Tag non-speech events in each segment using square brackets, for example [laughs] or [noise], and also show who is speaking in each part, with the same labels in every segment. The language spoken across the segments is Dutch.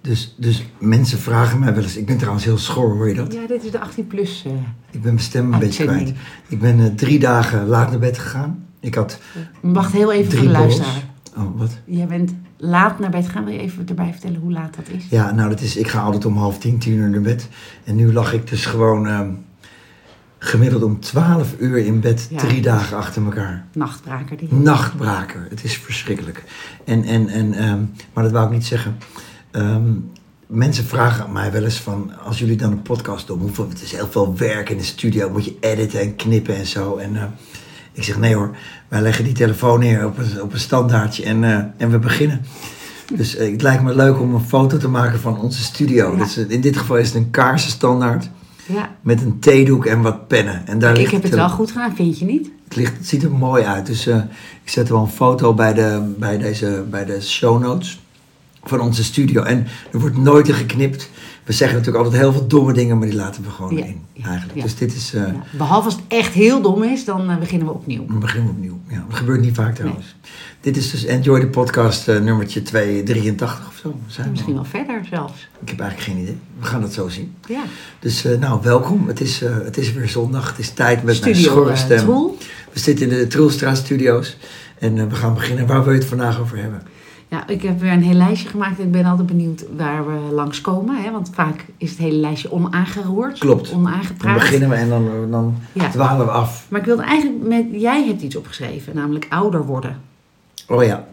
Speaker 1: Dus, dus mensen vragen mij wel eens. Ik ben trouwens heel schor, hoor je dat?
Speaker 2: Ja, dit is de eh. 18-plus.
Speaker 1: Ik ben mijn stem een beetje
Speaker 2: Uitzending.
Speaker 1: kwijt. Ik ben eh, drie dagen laat naar bed gegaan. Ik had
Speaker 2: Wacht heel even
Speaker 1: drie
Speaker 2: voor de
Speaker 1: borrels.
Speaker 2: luisteraar.
Speaker 1: Oh, wat?
Speaker 2: Jij bent laat naar bed gaan. Wil je even erbij vertellen hoe laat dat is?
Speaker 1: Ja, nou, dat is, ik ga altijd om half tien, tien uur naar bed. En nu lag ik dus gewoon ehm, gemiddeld om twaalf uur in bed,
Speaker 2: Ja.
Speaker 1: drie dagen achter elkaar.
Speaker 2: Nachtbraker. Die.
Speaker 1: Nachtbraker, het is verschrikkelijk. En, en, en, ehm, maar dat wou ik niet zeggen. Ehm, mensen vragen aan mij wel eens van, als jullie dan een podcast doen, hoeveel, het is heel veel werk in de studio, moet je editen en knippen en zo. En eh, ik zeg, nee hoor, wij leggen die telefoon neer op een, op een standaardje en, eh, en we beginnen. Dus eh, het lijkt me leuk om een foto te maken van onze studio.
Speaker 2: Ja.
Speaker 1: Dus, eh, in dit geval is het een kaarsenstandaard
Speaker 2: Ja.
Speaker 1: met een theedoek en wat pennen. En daar
Speaker 2: Ik
Speaker 1: ligt
Speaker 2: heb
Speaker 1: de
Speaker 2: het wel goed gedaan, vind je niet?
Speaker 1: het, ligt, het ziet er mooi uit. Dus eh, ik zet wel een foto bij de, bij, deze, bij de show notes van onze studio. En er wordt nooit in geknipt. We zeggen natuurlijk altijd heel veel domme dingen, maar die laten we gewoon
Speaker 2: Ja,
Speaker 1: in.
Speaker 2: ja,
Speaker 1: Eigenlijk.
Speaker 2: ja.
Speaker 1: Dus dit is. eh,
Speaker 2: Ja. Behalve als het echt heel dom is, dan eh, beginnen we opnieuw.
Speaker 1: Dan beginnen we opnieuw. Ja, dat gebeurt niet vaak trouwens. Dit is dus Enjoy the Podcast eh, nummertje 283 of zo. Zijn we
Speaker 2: Misschien
Speaker 1: al.
Speaker 2: wel verder zelfs.
Speaker 1: Ik heb eigenlijk geen idee. We gaan dat zo zien.
Speaker 2: Ja.
Speaker 1: Dus eh, nou, welkom. Het is, eh, het is weer zondag. Het is tijd met mijn
Speaker 2: Studio
Speaker 1: schorre
Speaker 2: eh,
Speaker 1: stem.
Speaker 2: Troel.
Speaker 1: We zitten in de Troelstra Studios en eh, we gaan beginnen. Waar wil je het vandaag over hebben?
Speaker 2: Ja, ik heb weer een heel lijstje gemaakt. Ik ben altijd benieuwd waar we langskomen. Hè? Want vaak is het hele lijstje onaangeroerd.
Speaker 1: Klopt. Dan
Speaker 2: Onaangepraat.
Speaker 1: beginnen we en dan, eh, dan
Speaker 2: Ja.
Speaker 1: dwalen we af.
Speaker 2: Maar ik wilde eigenlijk met... Jij hebt iets opgeschreven, namelijk ouder worden.
Speaker 1: Oh ja.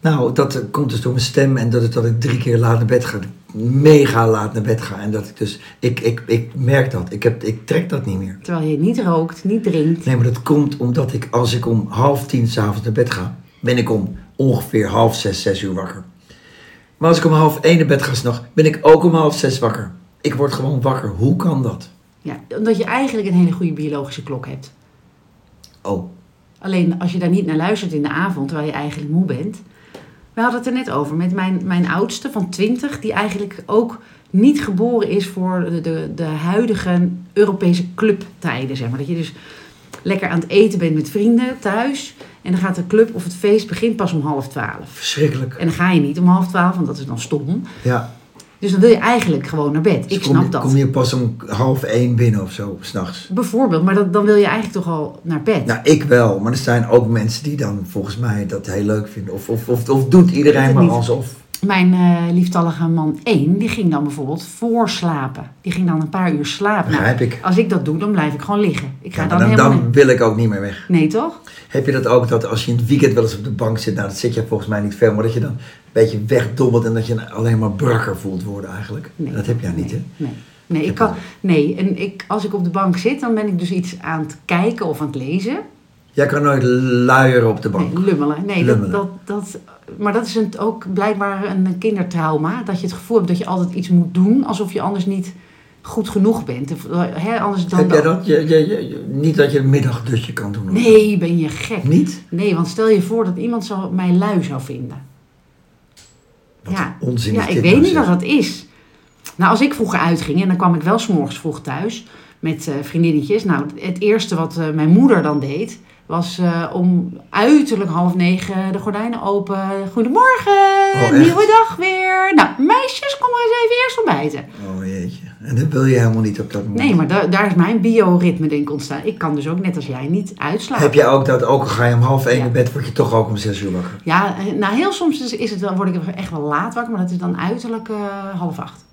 Speaker 1: Nou, dat eh, komt dus door mijn stem en dat, dat ik drie keer laat naar bed ga. Mega laat naar bed ga. En dat ik dus, ik, ik, ik merk dat. Ik, heb, ik trek dat niet meer.
Speaker 2: Terwijl je niet rookt, niet drinkt.
Speaker 1: Nee, maar dat komt omdat ik, als ik om half tien s'avonds naar bed ga, ben ik om ongeveer half zes, zes uur wakker. Maar als ik om half één naar bed ga s'nachts, ben ik ook om half zes wakker. Ik word gewoon wakker. Hoe kan dat?
Speaker 2: Ja, omdat je eigenlijk een hele goede biologische klok hebt.
Speaker 1: Oh,
Speaker 2: Alleen als je daar niet naar luistert in de avond, terwijl je eigenlijk moe bent. We hadden het er net over met mijn, mijn oudste van 20, die eigenlijk ook niet geboren is voor de, de, de huidige Europese clubtijden. Zeg maar. Dat je dus lekker aan het eten bent met vrienden thuis. En dan gaat de club of het feest begint pas om half twaalf.
Speaker 1: verschrikkelijk.
Speaker 2: En dan ga je niet om half twaalf, want dat is dan stom.
Speaker 1: Ja,
Speaker 2: Dus dan wil je eigenlijk gewoon naar bed.
Speaker 1: dus
Speaker 2: Ik
Speaker 1: kom,
Speaker 2: snap
Speaker 1: je-
Speaker 2: dat.
Speaker 1: Kom je pas om half één binnen of zo, s'nachts?
Speaker 2: Bijvoorbeeld, maar dat, dan wil je eigenlijk toch al naar bed.
Speaker 1: Nou, ik wel, maar er zijn ook mensen die dan volgens mij dat heel leuk vinden. Of, of, of, of doet
Speaker 2: Weet
Speaker 1: iedereen
Speaker 2: het
Speaker 1: maar
Speaker 2: niet.
Speaker 1: alsof.
Speaker 2: Mijn eh, lieftallige man 1, die ging dan bijvoorbeeld voorslapen. Die ging dan een paar uur slapen. Nou,
Speaker 1: Begrijp ik.
Speaker 2: als ik dat doe, dan blijf ik gewoon liggen. Ik ga
Speaker 1: Ja, maar
Speaker 2: dan,
Speaker 1: dan,
Speaker 2: helemaal...
Speaker 1: dan wil ik ook niet meer weg.
Speaker 2: niet- Nee, toch?
Speaker 1: Heb je dat ook, dat als je in het weekend wel eens op de bank zit, nou dat zit je volgens mij niet veel, maar dat je dan een beetje wegdobbelt en dat je alleen maar brakker voelt worden eigenlijk?
Speaker 2: Nee.
Speaker 1: Dat heb jij niet,
Speaker 2: nee.
Speaker 1: hè?
Speaker 2: Nee. Nee, ik
Speaker 1: heb
Speaker 2: kan,
Speaker 1: dat.
Speaker 2: nee, en ik, als ik op de bank zit, dan ben ik dus iets aan het kijken of aan het lezen.
Speaker 1: Jij kan nooit luieren op de bank.
Speaker 2: Nee, lummelen. Nee, dat-
Speaker 1: Lummelen.
Speaker 2: Dat, dat, maar dat is een, ook blijkbaar een kindertrauma. Dat je het gevoel hebt dat je altijd iets moet doen, alsof je anders niet goed genoeg bent. Of, eh, hè, anders dan
Speaker 1: heb jij dat? Je, je, je- je- niet dat je een middagdutje kan doen? of zo.
Speaker 2: Nee, ben je gek.
Speaker 1: Niet?
Speaker 2: Nee, want stel je voor dat iemand zo mij lui zou vinden.
Speaker 1: Wat
Speaker 2: ja,
Speaker 1: onzin
Speaker 2: ja
Speaker 1: is
Speaker 2: ik
Speaker 1: dit
Speaker 2: weet
Speaker 1: nou,
Speaker 2: niet
Speaker 1: zeg.
Speaker 2: wat dat is. Nou, als ik vroeger uitging en dan kwam ik wel s'morgens vroeg thuis met eh, vriendinnetjes. Nou, het eerste wat eh, mijn moeder dan deed, was eh, om uiterlijk half negen de gordijnen open. Goedemorgen,
Speaker 1: Oh, echt?
Speaker 2: nieuwe dag weer. Nou, meisjes, kom maar eens even eerst ontbijten.
Speaker 1: Oh jeetje. En dat wil je helemaal niet op dat moment.
Speaker 2: Nee, maar da- daar is mijn bioritme denk ik ontstaan. Ik kan dus ook net als jij niet uitslapen.
Speaker 1: Heb jij ook dat, ook al ga je om half één
Speaker 2: Ja.
Speaker 1: in bed, word je toch ook om zes uur wakker?
Speaker 2: Ja, eh, nou heel soms is, is het wel, word ik echt wel laat wakker, maar dat is dan uiterlijk eh, half acht.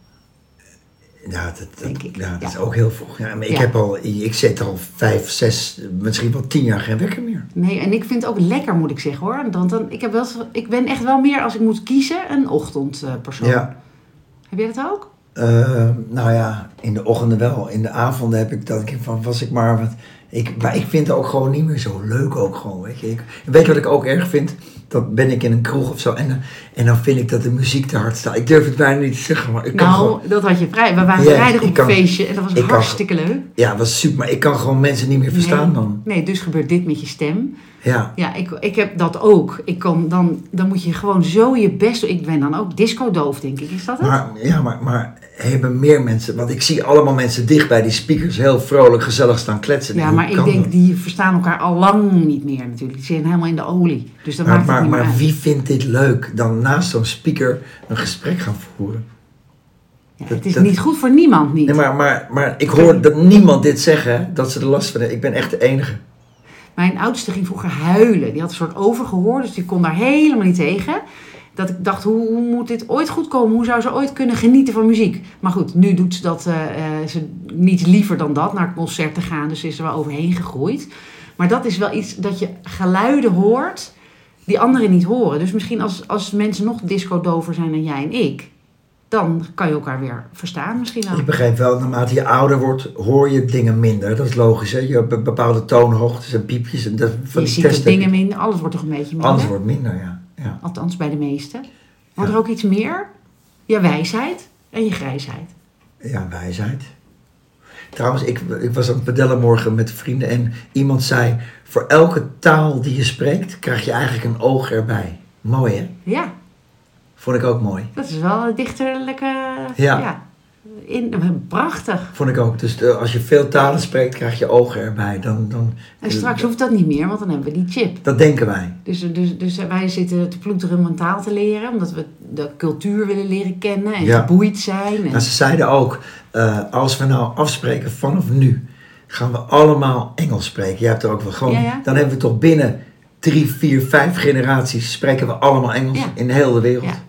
Speaker 1: Ja, dat, dat-
Speaker 2: Denk ik,
Speaker 1: ja, dat
Speaker 2: ja.
Speaker 1: is ook heel vroeg. Ja, maar ik,
Speaker 2: Ja.
Speaker 1: heb al, ik zet al vijf, zes, misschien wel tien jaar geen wekker meer.
Speaker 2: Nee, en ik vind het ook lekker, moet ik zeggen hoor. Dan, dan, ik, heb wel, ik ben echt wel meer, als ik moet kiezen, een ochtendpersoon.
Speaker 1: Ja.
Speaker 2: Heb jij dat ook?
Speaker 1: Eh, nou ja, in de ochtenden wel. In de avonden heb ik dat. Ik, van, was ik maar, wat, ik, maar ik vind het ook gewoon niet meer zo leuk. Ook gewoon, weet, je. Ik, weet je wat ik ook erg vind? Dat ben ik in een kroeg of zo. En, dan- en dan vind ik dat de muziek te hard staat. Ik durf het bijna niet te zeggen. Maar ik kan
Speaker 2: nou,
Speaker 1: gewoon,
Speaker 2: dat had je vrij. We waren
Speaker 1: Ja,
Speaker 2: vrijdag op
Speaker 1: ik
Speaker 2: een
Speaker 1: kan-
Speaker 2: feestje en dat was
Speaker 1: ik kan-
Speaker 2: hartstikke leuk.
Speaker 1: ja, was super. Maar ik kan gewoon mensen niet meer verstaan
Speaker 2: nee,
Speaker 1: dan.
Speaker 2: Nee, dus gebeurt dit met je stem.
Speaker 1: Ja.
Speaker 2: Ja, ik, ik heb dat ook. Ik kan, dan, dan moet je gewoon zo je best doen. Ik ben dan ook disco-doof, denk ik. Is dat het?
Speaker 1: Maar, ja, maar, maar hebben meer mensen. Want ik zie allemaal mensen dicht bij die speakers heel vrolijk, gezellig staan kletsen.
Speaker 2: ja,
Speaker 1: Hoe
Speaker 2: maar ik
Speaker 1: kan
Speaker 2: denk,
Speaker 1: dat?
Speaker 2: die verstaan elkaar al lang niet meer natuurlijk. Die zijn helemaal in de olie. Dus dat
Speaker 1: Maar,
Speaker 2: maakt het
Speaker 1: maar,
Speaker 2: niet meer
Speaker 1: maar
Speaker 2: uit.
Speaker 1: wie vindt dit leuk? Dan naast zo'n speaker een gesprek gaan voeren.
Speaker 2: Ja, het is
Speaker 1: dat-
Speaker 2: niet goed voor niemand niet.
Speaker 1: Nee, maar, maar, maar ik hoor dat niemand dit zeggen, hè, dat ze er last van hebben. Ik ben echt de enige.
Speaker 2: Mijn oudste ging vroeger huilen. Die had een soort overgehoor, dus die kon daar helemaal niet tegen. Dat ik dacht, hoe, hoe moet dit ooit goed komen? Hoe zou ze ooit kunnen genieten van muziek? Maar goed, nu doet ze dat eh, eh, ze niet liever dan dat, naar concerten gaan. Dus ze is er wel overheen gegroeid. Maar dat is wel iets dat je geluiden hoort die anderen niet horen. Dus misschien als, als mensen nog disco-dover zijn dan jij en ik... dan kan je elkaar weer verstaan misschien wel.
Speaker 1: Ik begrijp wel, naarmate je ouder wordt, hoor je dingen minder. Dat is logisch, hè? Je hebt be- bepaalde toonhoogtes en piepjes. En dat, van
Speaker 2: Je
Speaker 1: die
Speaker 2: ziet
Speaker 1: testen.
Speaker 2: dat dingen minder, alles wordt toch een beetje minder?
Speaker 1: Alles wordt minder, ja. ja.
Speaker 2: Althans, bij de meesten. Wordt er ook iets meer? Je wijsheid en je grijsheid.
Speaker 1: Ja, wijsheid. Trouwens, ik, ik was aan het pedellen morgen met vrienden en iemand zei... voor elke taal die je spreekt, krijg je eigenlijk een oog erbij. Mooi, hè?
Speaker 2: Ja,
Speaker 1: Vond ik ook mooi.
Speaker 2: dat is wel een dichterlijke...
Speaker 1: Ja.
Speaker 2: in, eh, prachtig.
Speaker 1: Vond ik ook. Dus eh, als je veel talen spreekt, krijg je ogen erbij. Dan, dan,
Speaker 2: En straks hoeft dat niet meer, want dan hebben we die chip.
Speaker 1: Dat denken wij.
Speaker 2: Dus, dus, dus wij zitten te ploeteren om een taal te leren, omdat we de cultuur willen leren kennen en
Speaker 1: Ja.
Speaker 2: geboeid zijn. En,
Speaker 1: Nou, ze zeiden ook, eh, als we nou afspreken vanaf nu, gaan we allemaal Engels spreken. Jij hebt er ook wel gewoon.
Speaker 2: Ja, ja.
Speaker 1: Dan hebben we toch binnen drie, vier, vijf generaties spreken we allemaal Engels
Speaker 2: Ja.
Speaker 1: in heel de wereld. Ja.
Speaker 2: Ja.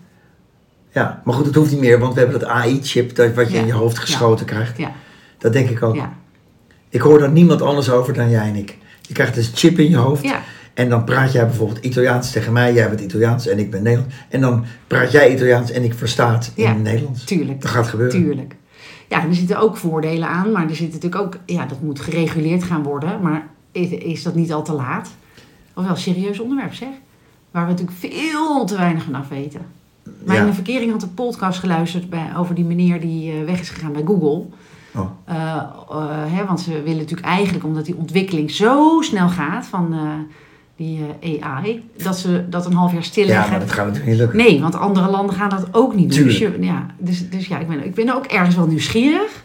Speaker 1: maar goed, dat hoeft niet meer, want we hebben dat AI-chip dat wat je
Speaker 2: Ja.
Speaker 1: in je hoofd geschoten krijgt.
Speaker 2: ja,
Speaker 1: Dat denk ik ook.
Speaker 2: ja,
Speaker 1: Ik hoor daar niemand anders over dan jij en ik. Je krijgt dus chip in je hoofd.
Speaker 2: ja.
Speaker 1: En dan praat jij bijvoorbeeld Italiaans tegen mij, jij bent Italiaans en ik ben Nederlands. En dan praat jij Italiaans en ik versta het in
Speaker 2: Ja,
Speaker 1: Nederlands.
Speaker 2: tuurlijk.
Speaker 1: Dat gaat gebeuren.
Speaker 2: Tuurlijk. Ja, er zitten ook voordelen aan, maar er zit natuurlijk ook, ja, dat moet gereguleerd gaan worden. Maar is, is dat niet al te laat? Of wel een serieus onderwerp, zeg. Waar we natuurlijk veel te weinig van af weten. Mijn
Speaker 1: Ja.
Speaker 2: verkering had een podcast geluisterd bij, over die meneer die eh, weg is gegaan bij Google.
Speaker 1: Oh.
Speaker 2: Eh, eh, hè, want ze willen natuurlijk eigenlijk, omdat die ontwikkeling zo snel gaat van eh, die eh, AI, dat ze dat een half jaar
Speaker 1: Ja,
Speaker 2: stilleggen.
Speaker 1: maar dat gaat natuurlijk niet lukken.
Speaker 2: Nee, want andere landen gaan dat ook niet doen. Dus,
Speaker 1: Tuurlijk.
Speaker 2: je- ja, dus, dus ja, ik ben, ik ben ook ergens wel nieuwsgierig.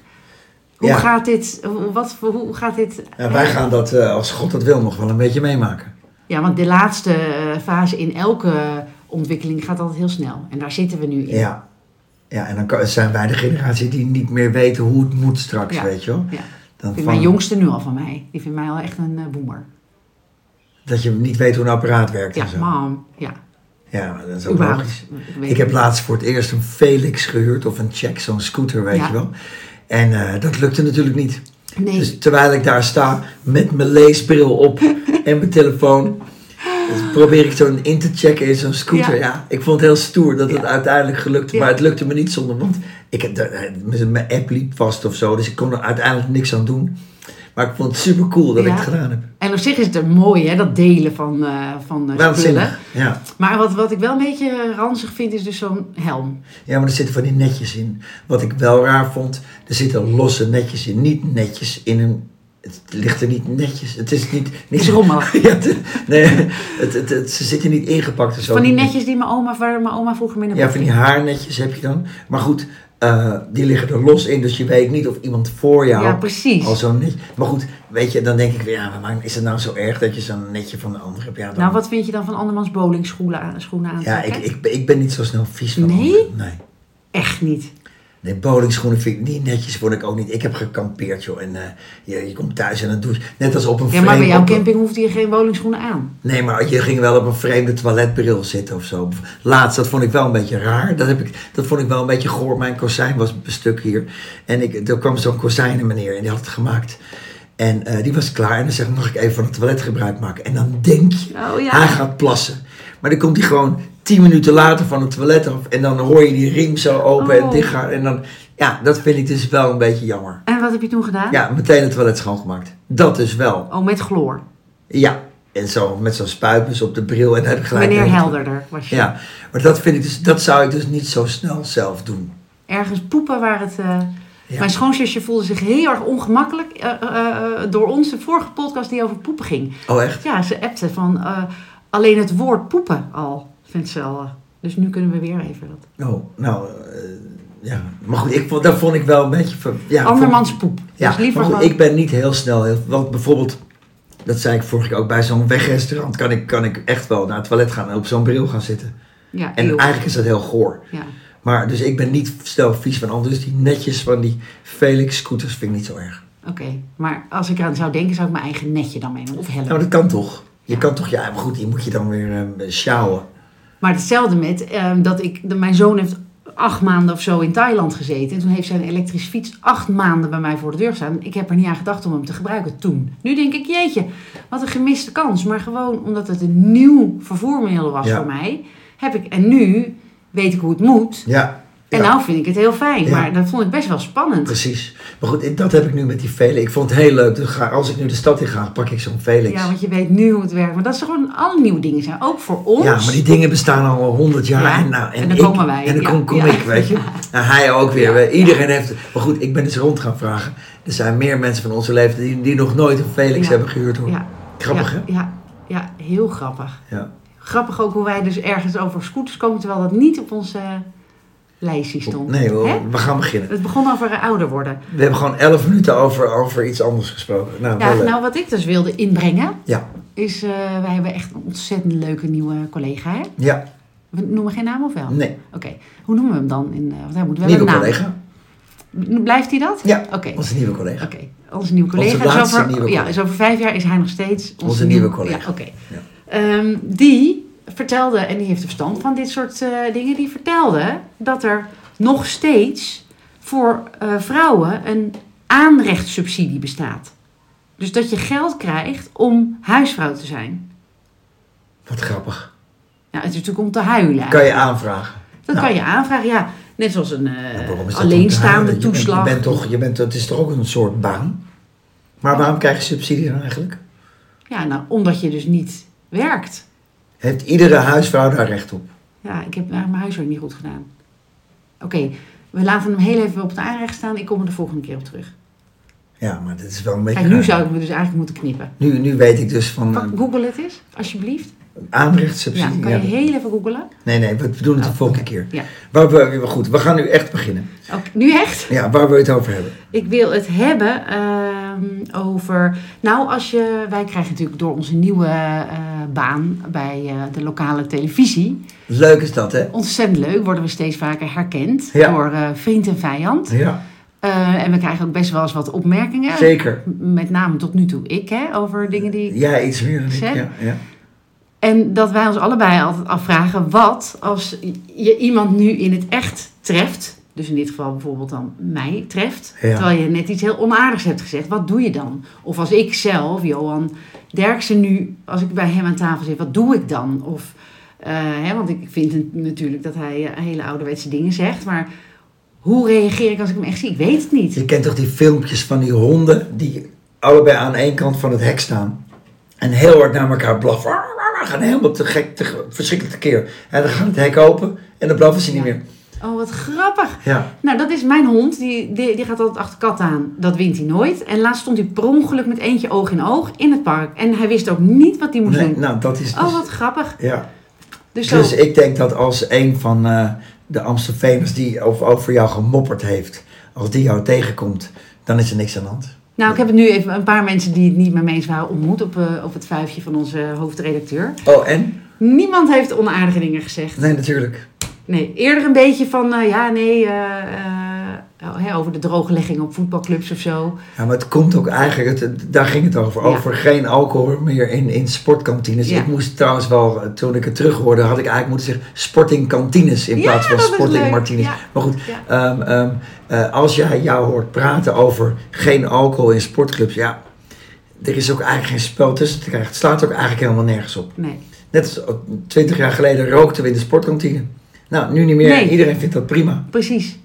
Speaker 2: Hoe
Speaker 1: Ja.
Speaker 2: gaat dit, hoe- wat, voor- hoe gaat dit...
Speaker 1: Ja, wij gaan dat, eh, als God dat wil, nog wel een beetje meemaken.
Speaker 2: Ja, want de laatste eh, fase in elke ontwikkeling gaat altijd heel snel. En daar zitten we nu in.
Speaker 1: Ja. Ja, en dan kan- zijn wij de generatie die niet meer weten hoe het moet straks,
Speaker 2: Ja.
Speaker 1: weet je wel.
Speaker 2: Ja.
Speaker 1: Dan
Speaker 2: Vindt
Speaker 1: van-
Speaker 2: mijn jongste nu al van mij. Die vindt mij al echt een eh, boemer.
Speaker 1: Dat je niet weet hoe een apparaat werkt
Speaker 2: Ja,
Speaker 1: en zo.
Speaker 2: mam. Ja,
Speaker 1: Ja, maar dat is ook
Speaker 2: überhaupt.
Speaker 1: logisch.
Speaker 2: Ik weet
Speaker 1: Ik heb
Speaker 2: het.
Speaker 1: laatst voor het eerst een Felix gehuurd of een check, zo'n scooter, weet
Speaker 2: Ja.
Speaker 1: je wel. En eh, dat lukte natuurlijk niet.
Speaker 2: Nee,
Speaker 1: Dus terwijl ik daar sta met mijn leesbril
Speaker 2: [laughs]
Speaker 1: op en mijn telefoon, dus probeer ik zo'n in te checken in zo'n scooter. Ja.
Speaker 2: Ja.
Speaker 1: ik vond het heel stoer dat het
Speaker 2: Ja.
Speaker 1: uiteindelijk gelukte,
Speaker 2: Ja.
Speaker 1: maar het lukte me niet zonder, want ik, heb daar- mijn- mijn app liep vast of zo, dus ik kon er uiteindelijk niks aan doen. Maar ik vond het super cool dat
Speaker 2: Ja.
Speaker 1: ik het gedaan heb.
Speaker 2: en op zich is het mooi, hè, dat delen van, eh van eh, spullen.
Speaker 1: Waanzinnig. Ja.
Speaker 2: Maar wat, wat ik wel een beetje ranzig vind, is dus zo'n helm.
Speaker 1: ja, maar er zitten van die netjes in. Wat ik wel raar vond, er zitten losse netjes in. Niet netjes in een. Het ligt er niet netjes. Het is niet.
Speaker 2: Het
Speaker 1: niet
Speaker 2: is rommelig.
Speaker 1: [laughs] Ja, het- nee, het, het, het- ze zitten niet ingepakt of zo.
Speaker 2: Van die netjes die mijn oma, waar mijn oma vroeger mee naar
Speaker 1: Ja,
Speaker 2: bed
Speaker 1: van die haarnetjes heb je dan. Maar goed, eh, die liggen er los in, dus je weet niet of iemand voor jou
Speaker 2: Ja, precies.
Speaker 1: al zo'n netje... Maar goed, weet je, dan denk ik weer, ja, maar is het nou zo erg dat je zo'n netje van de ander hebt? Ja, dan-
Speaker 2: Nou, wat vind je dan van andermans bowlingschoenen aan, schoenen
Speaker 1: ja
Speaker 2: aantrekken?
Speaker 1: ik, ik, ben- ik ben niet zo snel vies van
Speaker 2: Nee?
Speaker 1: anderen. Nee?
Speaker 2: Echt niet.
Speaker 1: Nee, bowlingschoenen vind ik niet netjes, vond ik ook niet. Ik heb gekampeerd, joh, en eh, je, je komt thuis en dan douche. Net als op een
Speaker 2: Ja, maar bij
Speaker 1: vreemde-
Speaker 2: jouw
Speaker 1: op een-
Speaker 2: camping hoefde je geen bowlingschoenen aan.
Speaker 1: Nee, maar je ging wel op een vreemde toiletbril zitten of zo. Laatst, dat vond ik wel een beetje raar. Dat, heb ik, dat vond ik wel een beetje goor. Mijn kozijn was een stuk hier. En ik, er kwam zo'n kozijnenmeneer en die had het gemaakt. En eh, die was klaar en dan zegt, mag ik even van het toilet gebruik maken? En dan denk je,
Speaker 2: Oh, ja.
Speaker 1: hij gaat plassen. Maar dan komt hij gewoon tien minuten later van het toilet af. En dan hoor je die riem zo open en
Speaker 2: Oh.
Speaker 1: dichtgaan. En dan, ja, dat vind ik dus wel een beetje jammer.
Speaker 2: En wat heb je toen gedaan?
Speaker 1: Ja, meteen het toilet schoongemaakt. Dat dus wel.
Speaker 2: Oh, met chloor.
Speaker 1: Ja, en zo met zo'n spuitbus op de bril en dan heb ik gelijk.
Speaker 2: Meneer Helderder was je.
Speaker 1: Ja, maar dat vind ik dus, dat zou ik dus niet zo snel zelf doen.
Speaker 2: Ergens poepen waar het... eh,
Speaker 1: Ja.
Speaker 2: Mijn schoonzusje voelde zich heel erg ongemakkelijk eh, eh, eh, door onze vorige podcast die over poepen ging.
Speaker 1: Oh echt?
Speaker 2: Ja, ze appte van eh, alleen het woord poepen al, vindt ze al. eh, Dus nu kunnen we weer even wat.
Speaker 1: Oh, nou, eh, ja. Maar goed, ik vond, dat vond ik wel een beetje... ver- Ja,
Speaker 2: Andermans
Speaker 1: vond-
Speaker 2: poep.
Speaker 1: Ja,
Speaker 2: dus liever
Speaker 1: maar goed,
Speaker 2: gewoon-
Speaker 1: ik ben niet heel snel. heel- Want bijvoorbeeld dat zei ik vorige keer ook bij zo'n wegrestaurant, kan ik, kan ik echt wel naar het toilet gaan en op zo'n bril gaan zitten.
Speaker 2: Ja,
Speaker 1: En
Speaker 2: eeuw.
Speaker 1: eigenlijk is dat heel goor.
Speaker 2: Ja.
Speaker 1: Maar dus ik ben niet snel vies van anderen. Dus die netjes van die Felix scooters vind ik niet zo erg.
Speaker 2: Oké, maar als ik eraan zou denken, zou ik mijn eigen netje dan meenemen. Of helm.
Speaker 1: Nou, dat kan toch? Je
Speaker 2: Ja.
Speaker 1: kan toch, ja, maar goed, die moet je dan weer eh sjouwen.
Speaker 2: Maar hetzelfde met ehm, dat ik, de- mijn zoon heeft acht maanden of zo in Thailand gezeten. En toen heeft zijn elektrische fiets acht maanden bij mij voor de deur gestaan. Ik heb er niet aan gedacht om hem te gebruiken toen. Nu denk ik, jeetje, wat een gemiste kans. Maar gewoon omdat het een nieuw vervoermiddel was
Speaker 1: Ja.
Speaker 2: voor mij, heb ik. En nu weet ik hoe het moet.
Speaker 1: Ja,
Speaker 2: En
Speaker 1: Ja.
Speaker 2: nou vind ik het heel fijn.
Speaker 1: Ja.
Speaker 2: Maar dat vond ik best wel spannend.
Speaker 1: precies. Maar goed, dat heb ik nu met die Felix. Ik vond het heel leuk. Dus ga, als ik nu de stad in ga, pak ik zo'n Felix.
Speaker 2: Ja, want je weet nu hoe het werkt. Maar dat is gewoon alle nieuwe dingen zijn. Ook voor ons.
Speaker 1: Ja, maar die dingen bestaan al honderd jaar.
Speaker 2: Ja,
Speaker 1: En, nou,
Speaker 2: en dan
Speaker 1: ik-
Speaker 2: komen wij.
Speaker 1: En dan
Speaker 2: Ja,
Speaker 1: kom, kom
Speaker 2: ja.
Speaker 1: ik, weet je.
Speaker 2: [laughs]
Speaker 1: En hij ook weer.
Speaker 2: Ja,
Speaker 1: We- Iedereen heeft... Maar goed, ik ben eens rond gaan vragen. Er zijn meer mensen van onze leeftijd die, die nog nooit een Felix
Speaker 2: Ja.
Speaker 1: hebben gehuurd. Hoor.
Speaker 2: Ja.
Speaker 1: Grappig,
Speaker 2: ja,
Speaker 1: hè?
Speaker 2: ja, ja, heel grappig.
Speaker 1: Ja.
Speaker 2: Grappig ook hoe wij dus ergens over scooters komen, terwijl dat niet op onze eh, lijstje stond.
Speaker 1: Nee,
Speaker 2: Hè?
Speaker 1: we, we gaan beginnen.
Speaker 2: Het begon over eh, ouder worden.
Speaker 1: We hebben gewoon elf minuten over, over iets anders gesproken. Nou,
Speaker 2: Ja,
Speaker 1: wel leuk.
Speaker 2: nou, wat ik dus wilde inbrengen,
Speaker 1: Ja,
Speaker 2: is eh, wij hebben echt een ontzettend leuke nieuwe collega. Hè?
Speaker 1: ja,
Speaker 2: We noemen geen naam of wel?
Speaker 1: nee.
Speaker 2: Oké, hoe noemen we hem dan? In, eh, want hij moet wel
Speaker 1: Nieuwe
Speaker 2: een naam.
Speaker 1: collega.
Speaker 2: Blijft hij dat?
Speaker 1: Ja,
Speaker 2: Oké,
Speaker 1: onze nieuwe collega.
Speaker 2: oké. Onze nieuwe collega.
Speaker 1: Onze
Speaker 2: is
Speaker 1: laatste
Speaker 2: over,
Speaker 1: nieuwe
Speaker 2: Ja,
Speaker 1: collega.
Speaker 2: is over vijf jaar is hij nog steeds onze,
Speaker 1: Onze nieuwe collega.
Speaker 2: Ja, oké.
Speaker 1: Ja.
Speaker 2: Ehm, die vertelde, en die heeft er verstand van dit soort eh, dingen, die vertelde dat er nog steeds voor eh, vrouwen een aanrechtssubsidie bestaat. Dus dat je geld krijgt om huisvrouw te zijn.
Speaker 1: Wat grappig.
Speaker 2: Nou, het is natuurlijk om te huilen.
Speaker 1: Kan je aanvragen.
Speaker 2: dat
Speaker 1: nou.
Speaker 2: kan je aanvragen, ja. Net zoals een eh,
Speaker 1: Nou, waarom is dat om te
Speaker 2: alleenstaande
Speaker 1: houden? Je bent-
Speaker 2: toeslag.
Speaker 1: Je bent, toch, je bent, het is toch ook een soort baan? Maar waarom krijg je subsidie dan eigenlijk?
Speaker 2: Ja, nou, omdat je dus niet werkt.
Speaker 1: Heeft iedere huisvrouw daar recht op?
Speaker 2: Ja, ik heb eigenlijk mijn huiswerk niet goed gedaan. Oké, we laten hem heel even op het aanrecht staan. Ik kom er de volgende keer op terug.
Speaker 1: Ja, maar dat is wel een beetje...
Speaker 2: Kijk, nu
Speaker 1: raar.
Speaker 2: zou ik me dus eigenlijk moeten knippen.
Speaker 1: nu, nu weet ik dus van
Speaker 2: Pak,
Speaker 1: eh,
Speaker 2: Google het eens, alsjeblieft. Ja,
Speaker 1: aanrechtssubsidie.
Speaker 2: kan je
Speaker 1: ja.
Speaker 2: heel even googelen?
Speaker 1: Nee, nee, we doen het de volgende keer.
Speaker 2: Ja.
Speaker 1: Waar we, we- goed, we gaan nu echt beginnen.
Speaker 2: Oké, nu echt?
Speaker 1: Ja, waar we het over hebben.
Speaker 2: Ik wil het hebben ehm, over... Nou, als je... Wij krijgen natuurlijk door onze nieuwe eh, baan bij eh, de lokale televisie...
Speaker 1: Leuk is dat, hè?
Speaker 2: Ontzettend leuk, worden we steeds vaker herkend
Speaker 1: Ja.
Speaker 2: door eh, vriend en vijand.
Speaker 1: Ja,
Speaker 2: Eh, en we krijgen ook best wel eens wat opmerkingen.
Speaker 1: zeker.
Speaker 2: Met name tot nu toe ik, hè, over dingen die ik
Speaker 1: Ja, iets meer dan ik.
Speaker 2: Zeg.
Speaker 1: Ja, ja.
Speaker 2: En dat wij ons allebei altijd afvragen, wat als je iemand nu in het echt treft, dus in dit geval bijvoorbeeld dan mij treft,
Speaker 1: Ja.
Speaker 2: terwijl je net iets heel onaardigs hebt gezegd, wat doe je dan? Of als ik zelf, Johan Derksen nu, als ik bij hem aan tafel zit, wat doe ik dan? Of, eh, hè, want ik vind het natuurlijk dat hij eh, hele ouderwetse dingen zegt, maar hoe reageer ik als ik hem echt zie? Ik weet het niet.
Speaker 1: Je kent toch die filmpjes van die honden die allebei aan één kant van het hek staan. En heel hard naar elkaar blaffen. Waar, waar, waar, Gaan helemaal te gek, te, verschrikkelijk tekeer. En dan gaat het hek open en dan blaffen ze niet
Speaker 2: Ja.
Speaker 1: meer.
Speaker 2: Oh, wat grappig.
Speaker 1: Ja,
Speaker 2: Nou, dat is mijn hond. Die, die, die gaat altijd achter kat aan. Dat wint hij nooit. En laatst stond hij per ongeluk met eentje oog in oog in het park. En hij wist ook niet wat hij moest
Speaker 1: nee,
Speaker 2: doen.
Speaker 1: nou dat is dus...
Speaker 2: Oh, wat grappig.
Speaker 1: ja.
Speaker 2: Dus,
Speaker 1: Dus
Speaker 2: zo,
Speaker 1: ik denk dat als een van eh, de Amsterdammers die over, over jou gemopperd heeft, als die jou tegenkomt, dan is er niks aan de hand.
Speaker 2: nou, ik heb het nu even een paar mensen die het niet met me eens waren ontmoet op, eh, op het vuifje van onze hoofdredacteur.
Speaker 1: Oh, en?
Speaker 2: Niemand heeft onaardige dingen gezegd.
Speaker 1: Nee, natuurlijk.
Speaker 2: Nee, eerder een beetje van, eh, ja, nee, eh, eh, oh, hè, over de drooglegging op voetbalclubs of zo.
Speaker 1: Ja, maar het komt ook eigenlijk, het- het- daar ging het over,
Speaker 2: Ja.
Speaker 1: over geen alcohol meer in, in sportkantines.
Speaker 2: Ja.
Speaker 1: Ik moest trouwens wel, eh, toen ik het terug hoorde, had ik eigenlijk moeten zeggen sportingkantines in
Speaker 2: Ja,
Speaker 1: plaats van
Speaker 2: dat is
Speaker 1: sporting
Speaker 2: leuk.
Speaker 1: martinis.
Speaker 2: Ja.
Speaker 1: Maar goed,
Speaker 2: Ja.
Speaker 1: ehm, ehm, eh, als jij jou hoort praten over geen alcohol in sportclubs, ja, er is ook eigenlijk geen spel tussen te krijgen. Het slaat ook eigenlijk helemaal nergens op.
Speaker 2: Nee.
Speaker 1: Net als eh, twintig jaar geleden rookten we in de sportkantine. Nou, nu niet meer.
Speaker 2: Nee.
Speaker 1: Iedereen vindt dat prima.
Speaker 2: Precies.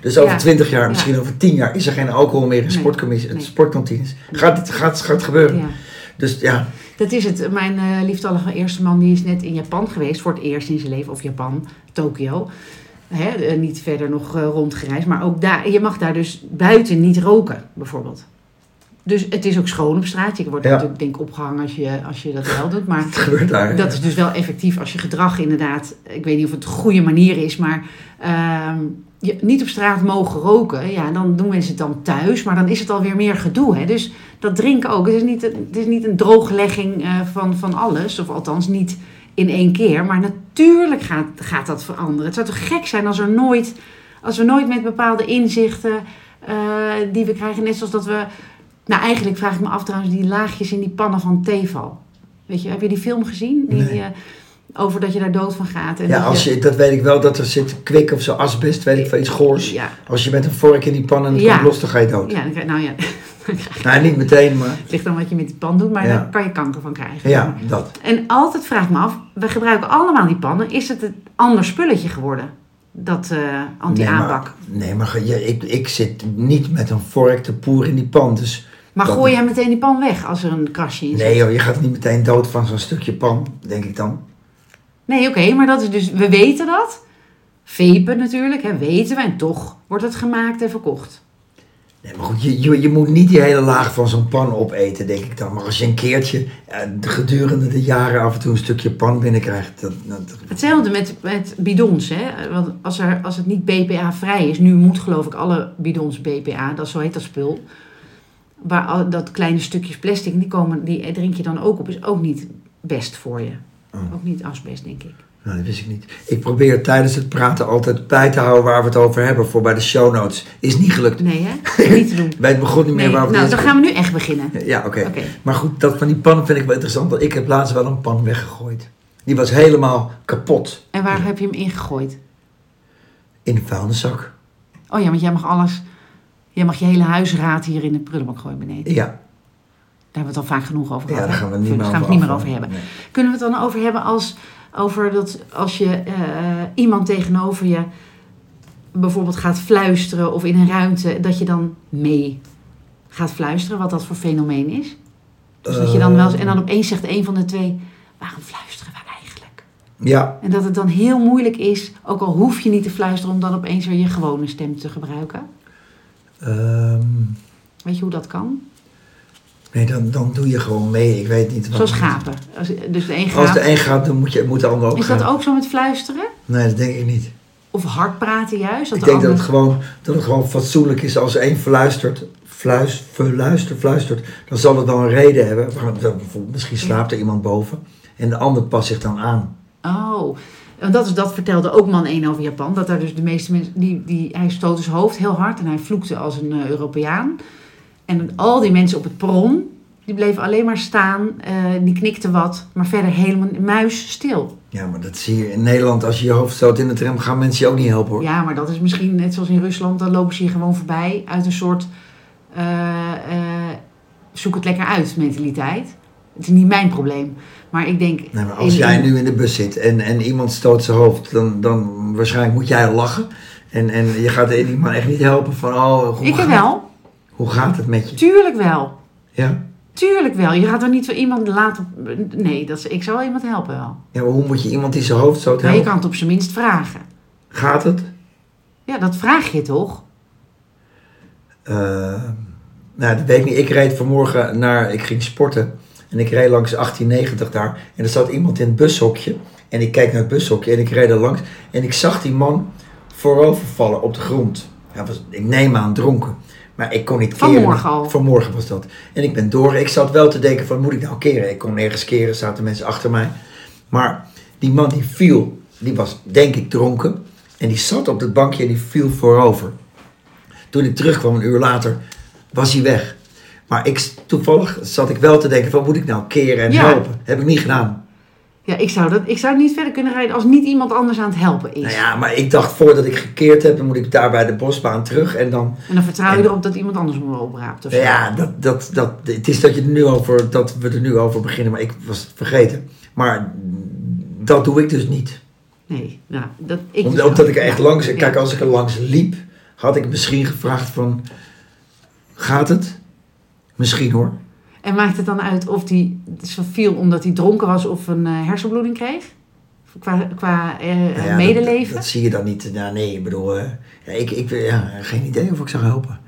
Speaker 1: Dus over
Speaker 2: Ja.
Speaker 1: twintig jaar,
Speaker 2: Ja.
Speaker 1: misschien over tien jaar, is er geen alcohol meer in
Speaker 2: Nee.
Speaker 1: sportcommis-
Speaker 2: Nee.
Speaker 1: sportkantines. Gaat het gaat, gaat gebeuren.
Speaker 2: Ja.
Speaker 1: Dus ja,
Speaker 2: Dat is het. Mijn eh, lieftallige eerste man die is net in Japan geweest. Voor het eerst in zijn leven. Of Japan, Tokio. Hè, eh, niet verder nog eh, rondgereisd. Maar ook daar, je mag daar dus buiten niet roken, bijvoorbeeld. Dus het is ook schoon op straat. Je wordt
Speaker 1: Ja.
Speaker 2: natuurlijk denk ik opgehangen als je, als je dat wel doet. Maar
Speaker 1: Het gebeurt daar.
Speaker 2: dat is dus wel effectief als je gedrag inderdaad... Ik weet niet of het een goede manier is, maar... ehm, je, niet op straat mogen roken, ja, dan doen mensen het dan thuis. Maar dan is het alweer meer gedoe. Hè? Dus dat drinken ook. Het is niet, het is niet een drooglegging eh, van, van alles. Of althans niet in één keer. Maar natuurlijk gaat, gaat dat veranderen. Het zou toch gek zijn als, er nooit, als we nooit met bepaalde inzichten eh, die we krijgen... Net zoals dat we... Nou, eigenlijk vraag ik me af trouwens die laagjes in die pannen van Teval. Weet je, heb je die film gezien? Die,
Speaker 1: Nee.
Speaker 2: eh, over dat je daar dood van gaat. En
Speaker 1: Ja,
Speaker 2: dat
Speaker 1: als je, dat weet ik wel, dat er zit kwik of zo, asbest, weet ik veel, iets goors.
Speaker 2: Ja,
Speaker 1: Als je met een vork in die pan en het
Speaker 2: Ja.
Speaker 1: komt los, dan ga je dood.
Speaker 2: ja, dan krijg- nou ja, [laughs]
Speaker 1: Nou, niet meteen, maar
Speaker 2: Het ligt aan wat je met die pan doet, maar
Speaker 1: Ja.
Speaker 2: daar kan je kanker van krijgen.
Speaker 1: ja, dat.
Speaker 2: En altijd vraag ik me af, we gebruiken allemaal die pannen. Is het een ander spulletje geworden? Dat eh anti-aanpak. maar
Speaker 1: Nee, maar, nee, maar ge- ja, ik, ik zit niet met een vork te poeren in die pan. Dus dat-
Speaker 2: gooi jij meteen die pan weg als er een krasje in zit?
Speaker 1: nee, joh, je gaat niet meteen dood van zo'n stukje pan, denk ik dan.
Speaker 2: Nee, oké, maar dat is dus, we weten dat. Vepen natuurlijk, hè, weten we. En toch wordt het gemaakt en verkocht.
Speaker 1: Nee, maar goed, je, je, je moet niet die hele laag van zo'n pan opeten, denk ik dan. Maar als je een keertje eh, de gedurende de jaren af en toe een stukje pan binnenkrijgt, dat, dat,
Speaker 2: Hetzelfde met, met bidons. Hè? Want als, er, als het niet BPA-vrij is, nu moet geloof ik alle bidons BPA, dat, zo heet dat spul. Waar al dat kleine stukjes plastic, die, komen, die drink je dan ook op, is ook niet best voor je.
Speaker 1: Oh.
Speaker 2: Ook niet asbest, denk ik.
Speaker 1: Nou, dat wist ik niet. Ik probeer tijdens het praten altijd bij te houden waar we het over hebben voor bij de show notes. Is niet gelukt.
Speaker 2: Nee, hè? Niet te doen.
Speaker 1: Wij begonnen [laughs] niet meer
Speaker 2: Nee,
Speaker 1: waar we
Speaker 2: nou,
Speaker 1: het
Speaker 2: dan gaan we nu echt beginnen.
Speaker 1: [laughs] Ja, oké.
Speaker 2: Oké.
Speaker 1: Maar goed, dat van die pan vind ik wel interessant. Want ik heb laatst wel een pan weggegooid. Die was helemaal kapot
Speaker 2: En waar heb je hem ingegooid?
Speaker 1: in de vuilniszak.
Speaker 2: Oh ja, want jij mag alles... Jij mag je hele huisraad hier in de prullenbak gooien beneden.
Speaker 1: Ja,
Speaker 2: Daar hebben we het al vaak genoeg over
Speaker 1: ja
Speaker 2: gehad.
Speaker 1: daar
Speaker 2: hè?
Speaker 1: gaan we het niet,
Speaker 2: Daar
Speaker 1: meer
Speaker 2: gaan we
Speaker 1: over,
Speaker 2: het niet meer
Speaker 1: af-
Speaker 2: over hebben.
Speaker 1: Nee.
Speaker 2: Kunnen we het dan over hebben als, over dat als je eh, iemand tegenover je bijvoorbeeld gaat fluisteren of in een ruimte, dat je dan mee gaat fluisteren, wat dat voor fenomeen is? Dus dat je dan wel eens, en dan
Speaker 1: Ehm.
Speaker 2: opeens zegt een van de twee, waarom fluisteren we eigenlijk?
Speaker 1: Ja,
Speaker 2: En dat het dan heel moeilijk is, ook al hoef je niet te fluisteren, om dan opeens weer je gewone stem te gebruiken.
Speaker 1: ehm,
Speaker 2: Weet je hoe dat kan?
Speaker 1: nee, dan, dan doe je gewoon mee. Ik weet niet. wat-
Speaker 2: Zoals gapen. Als- Dus de een
Speaker 1: Als de
Speaker 2: gaat.
Speaker 1: een gaat, dan moet, je, moet de ander ook
Speaker 2: Is
Speaker 1: gaan.
Speaker 2: dat ook zo met fluisteren?
Speaker 1: Nee, dat denk ik niet.
Speaker 2: Of hard praten juist? Dat
Speaker 1: Ik
Speaker 2: de
Speaker 1: denk dat
Speaker 2: ander-
Speaker 1: het, gewoon, dat het gewoon fatsoenlijk is als één fluistert, fluis, fluistert, fluistert, dan zal het dan een reden hebben. Waarom- dan Bijvoorbeeld, misschien slaapt er iemand boven en de ander past zich dan aan.
Speaker 2: Oh, want dat, is, dat vertelde ook man 1 over Japan. Dat daar dus de meeste mensen... Die, die, hij stoot zijn hoofd heel hard en hij vloekte als een eh, Europeaan. En al die mensen op het perron, die bleven alleen maar staan. eh, die knikten wat, maar verder helemaal muisstil.
Speaker 1: Ja, maar dat zie je in Nederland. Als je je hoofd stoot in de tram, gaan mensen je ook niet helpen hoor.
Speaker 2: Ja, maar dat is misschien net zoals in Rusland. Dan lopen ze hier gewoon voorbij uit een soort... eh, eh, zoek het lekker uit mentaliteit. Het is niet mijn probleem. Maar ik denk...
Speaker 1: Nee, maar als
Speaker 2: in-
Speaker 1: jij
Speaker 2: in-
Speaker 1: nu in de bus zit en, en iemand stoot zijn hoofd, dan, dan waarschijnlijk moet jij lachen. En, en je gaat die iemand echt niet helpen van, oh, hoe,
Speaker 2: Ik
Speaker 1: gaat,
Speaker 2: wel.
Speaker 1: hoe gaat het met je?
Speaker 2: Tuurlijk wel.
Speaker 1: Ja?
Speaker 2: Tuurlijk wel. Je gaat er niet voor iemand laten. Nee, dat is, ik zou wel iemand helpen wel.
Speaker 1: ja, maar hoe moet je iemand die zijn hoofd stoot
Speaker 2: Maar je
Speaker 1: helpen?
Speaker 2: kan het op zijn minst vragen.
Speaker 1: Gaat het?
Speaker 2: Ja, dat vraag je toch?
Speaker 1: Eh, nou, dat weet ik niet. Ik reed vanmorgen naar, ik ging sporten. En ik reed langs 1890 daar. En er zat iemand in het bushokje. En ik kijk naar het bushokje en ik reed er langs. En ik zag die man voorover vallen op de grond. Hij was, ik neem aan, dronken. Maar ik kon niet keren.
Speaker 2: Vanmorgen al?
Speaker 1: Vanmorgen was dat. En ik ben door. Ik zat wel te denken van, moet ik nou keren? Ik kon nergens keren, zaten mensen achter mij. Maar die man die viel, die was denk ik dronken. En die zat op dat bankje en die viel voorover. Toen ik terugkwam een uur later, was hij weg. Maar ik, toevallig zat ik wel te denken van moet ik nou keren en
Speaker 2: Ja.
Speaker 1: helpen? Heb ik niet gedaan.
Speaker 2: Ja, ik zou, dat, ik zou niet verder kunnen rijden als niet iemand anders aan het helpen is.
Speaker 1: Nou ja, maar ik dacht voordat ik gekeerd heb, dan moet ik daar bij de bosbaan terug. En dan,
Speaker 2: En dan vertrouw je
Speaker 1: En-
Speaker 2: erop dat iemand anders me wel opraapt. Of
Speaker 1: nou
Speaker 2: zo.
Speaker 1: ja, dat, dat, dat, het is dat, je er nu over, dat we er nu over beginnen, maar ik was het vergeten. Maar dat doe ik dus niet.
Speaker 2: Nee, nou, dat ik.
Speaker 1: Om-
Speaker 2: dus
Speaker 1: Omdat
Speaker 2: wel.
Speaker 1: ik er echt
Speaker 2: Ja,
Speaker 1: langs,
Speaker 2: ja.
Speaker 1: kijk als ik er langs liep, had ik misschien gevraagd van, gaat het? Misschien hoor.
Speaker 2: En maakt het dan uit of die ze viel omdat hij dronken was of een eh, hersenbloeding kreeg? Qua, qua eh,
Speaker 1: Nou ja,
Speaker 2: medeleven?
Speaker 1: Dat, dat zie je dan niet. Ja, nee, ik bedoel, eh, ja, ik, ik, ja, geen idee of ik zou helpen.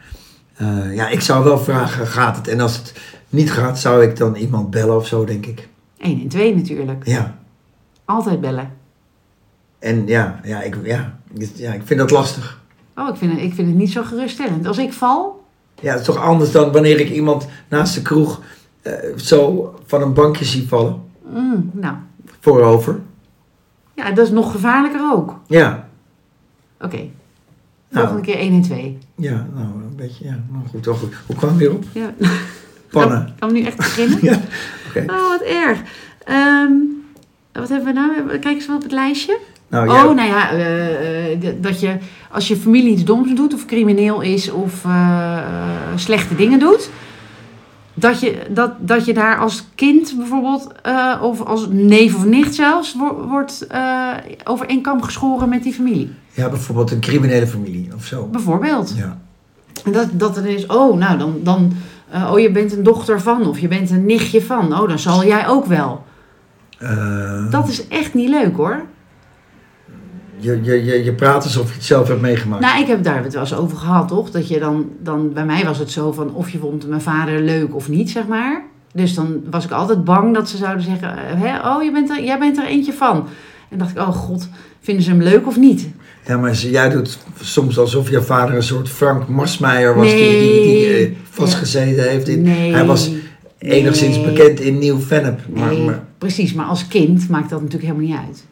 Speaker 1: Eh, ja, ik zou wel vragen, gaat het? En als het niet gaat, zou ik dan iemand bellen of zo, denk ik.
Speaker 2: 1 en 2 natuurlijk.
Speaker 1: Ja,
Speaker 2: Altijd bellen.
Speaker 1: en ja, ja, ik, ja, ik- ja, ik vind dat lastig.
Speaker 2: Oh, ik vind, het, ik vind het niet zo geruststellend. Als ik val,
Speaker 1: Ja, het is toch anders dan wanneer ik iemand naast de kroeg eh, zo van een bankje zie vallen,
Speaker 2: mm, nou,
Speaker 1: voorover.
Speaker 2: ja, dat is nog gevaarlijker ook. Oké,
Speaker 1: Ja, Nou.
Speaker 2: volgende keer 1 en 2.
Speaker 1: ja, nou, een beetje, ja, nou goed, wel goed. Hoe kwam je weer op?
Speaker 2: Ja.
Speaker 1: Pannen.
Speaker 2: Ik kan nu
Speaker 1: [laughs]
Speaker 2: echt beginnen.
Speaker 1: Ja, oké.
Speaker 2: Oh, wat erg. Ehm, wat hebben we nou? Kijk eens wat op het lijstje.
Speaker 1: Nou,
Speaker 2: Oh,
Speaker 1: jij-
Speaker 2: nou ja, eh, eh, d- dat je als je familie iets doms doet of crimineel is of eh, eh, slechte dingen doet. Dat je, dat, dat je daar als kind bijvoorbeeld, eh, of als neef of nicht zelfs, wo- wordt eh, over één kam geschoren met die familie.
Speaker 1: ja, bijvoorbeeld een criminele familie of zo.
Speaker 2: Bijvoorbeeld.
Speaker 1: Ja,
Speaker 2: En Dat, dat er is, oh, nou dan, dan eh, oh, je bent een dochter van of je bent een nichtje van. Oh, dan zal jij ook wel.
Speaker 1: Eh,
Speaker 2: Dat is echt niet leuk hoor.
Speaker 1: je, je, je, je praat alsof je het zelf hebt meegemaakt.
Speaker 2: Nou, ik heb daar het wel eens over gehad, toch? Dat je dan, dan, bij mij was het zo van of je vond mijn vader leuk of niet, zeg maar. Dus dan was ik altijd bang dat ze zouden zeggen, eh, hè, oh, je bent er, jij bent er eentje van. En dacht ik, oh god, vinden ze hem leuk of niet?
Speaker 1: Ja, maar ze- jij doet soms alsof jouw vader een soort Frank Marsmeijer was die, die, die
Speaker 2: Nee.
Speaker 1: eh, vastgezeten heeft. In,
Speaker 2: Nee.
Speaker 1: Hij was enigszins
Speaker 2: Nee.
Speaker 1: bekend in Nieuw-Vennep. Maar,
Speaker 2: Nee,
Speaker 1: maar,
Speaker 2: precies. Maar als kind maakt dat natuurlijk helemaal niet uit.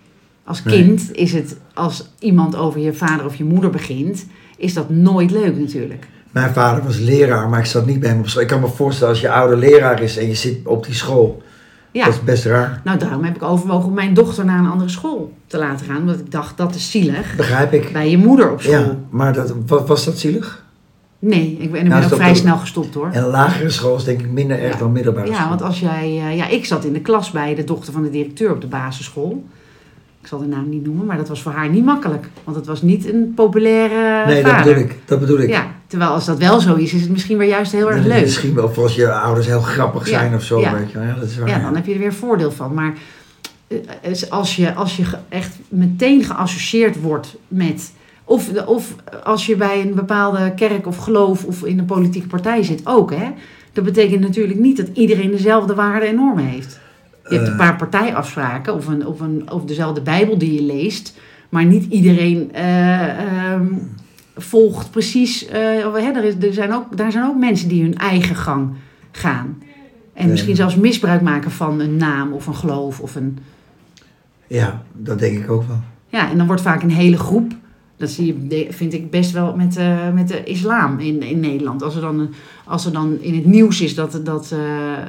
Speaker 2: Als
Speaker 1: Nee.
Speaker 2: kind is het, als iemand over je vader of je moeder begint, is dat nooit leuk natuurlijk.
Speaker 1: mijn vader was leraar, maar ik zat niet bij hem op school. Ik kan me voorstellen als je oude leraar is en je zit op die school.
Speaker 2: Ja.
Speaker 1: Dat is best raar.
Speaker 2: Nou, daarom heb ik overwogen om mijn dochter naar een andere school te laten gaan. Omdat ik dacht, dat is zielig.
Speaker 1: Begrijp ik.
Speaker 2: Bij je moeder op school.
Speaker 1: Ja, maar dat, wa- was dat zielig?
Speaker 2: Nee, ik ben, ik ben
Speaker 1: Nou,
Speaker 2: ook
Speaker 1: stop
Speaker 2: vrij
Speaker 1: dan.
Speaker 2: snel gestopt hoor.
Speaker 1: En lagere school is denk ik minder erg
Speaker 2: Ja.
Speaker 1: dan middelbare
Speaker 2: Ja,
Speaker 1: school.
Speaker 2: want als jij, eh, ja, ik zat in de klas bij de dochter van de directeur op de basisschool. Ik zal de naam niet noemen, maar dat was voor haar niet makkelijk. Want het was niet een populaire
Speaker 1: nee, dat
Speaker 2: eh, vader.
Speaker 1: bedoel ik. Dat bedoel ik.
Speaker 2: Ja, terwijl als dat wel zo is, is het misschien weer juist heel
Speaker 1: Dan
Speaker 2: erg
Speaker 1: is het
Speaker 2: leuk.
Speaker 1: Misschien wel of als je ouders heel grappig
Speaker 2: Ja,
Speaker 1: zijn of zo.
Speaker 2: ja.
Speaker 1: Weet je. wel. Ja, dat is waar.
Speaker 2: Ja,
Speaker 1: ja.
Speaker 2: dan heb je er weer voordeel van. Maar eh, eh, als je, als je ge- echt meteen geassocieerd wordt met. Of, de- of als je bij een bepaalde kerk of geloof of in een politieke partij zit ook, hè? Dat betekent natuurlijk niet dat iedereen dezelfde waarden en normen heeft. Je hebt
Speaker 1: Eh.
Speaker 2: een paar partijafspraken of, een, of, een, of dezelfde Bijbel die je leest, maar niet iedereen eh, ehm, volgt precies. eh, of, hè, er, is, er zijn ook, daar zijn ook mensen die hun eigen gang gaan. En
Speaker 1: Ja.
Speaker 2: misschien zelfs misbruik maken van een naam of een geloof. Of een...
Speaker 1: Ja, dat denk ik ook wel.
Speaker 2: Ja, en dan wordt vaak een hele groep. Dat zie je, de- vind ik best wel met, eh, met de islam in, in Nederland. Als er, dan, een- als er dan in het nieuws is dat, dat eh, eh,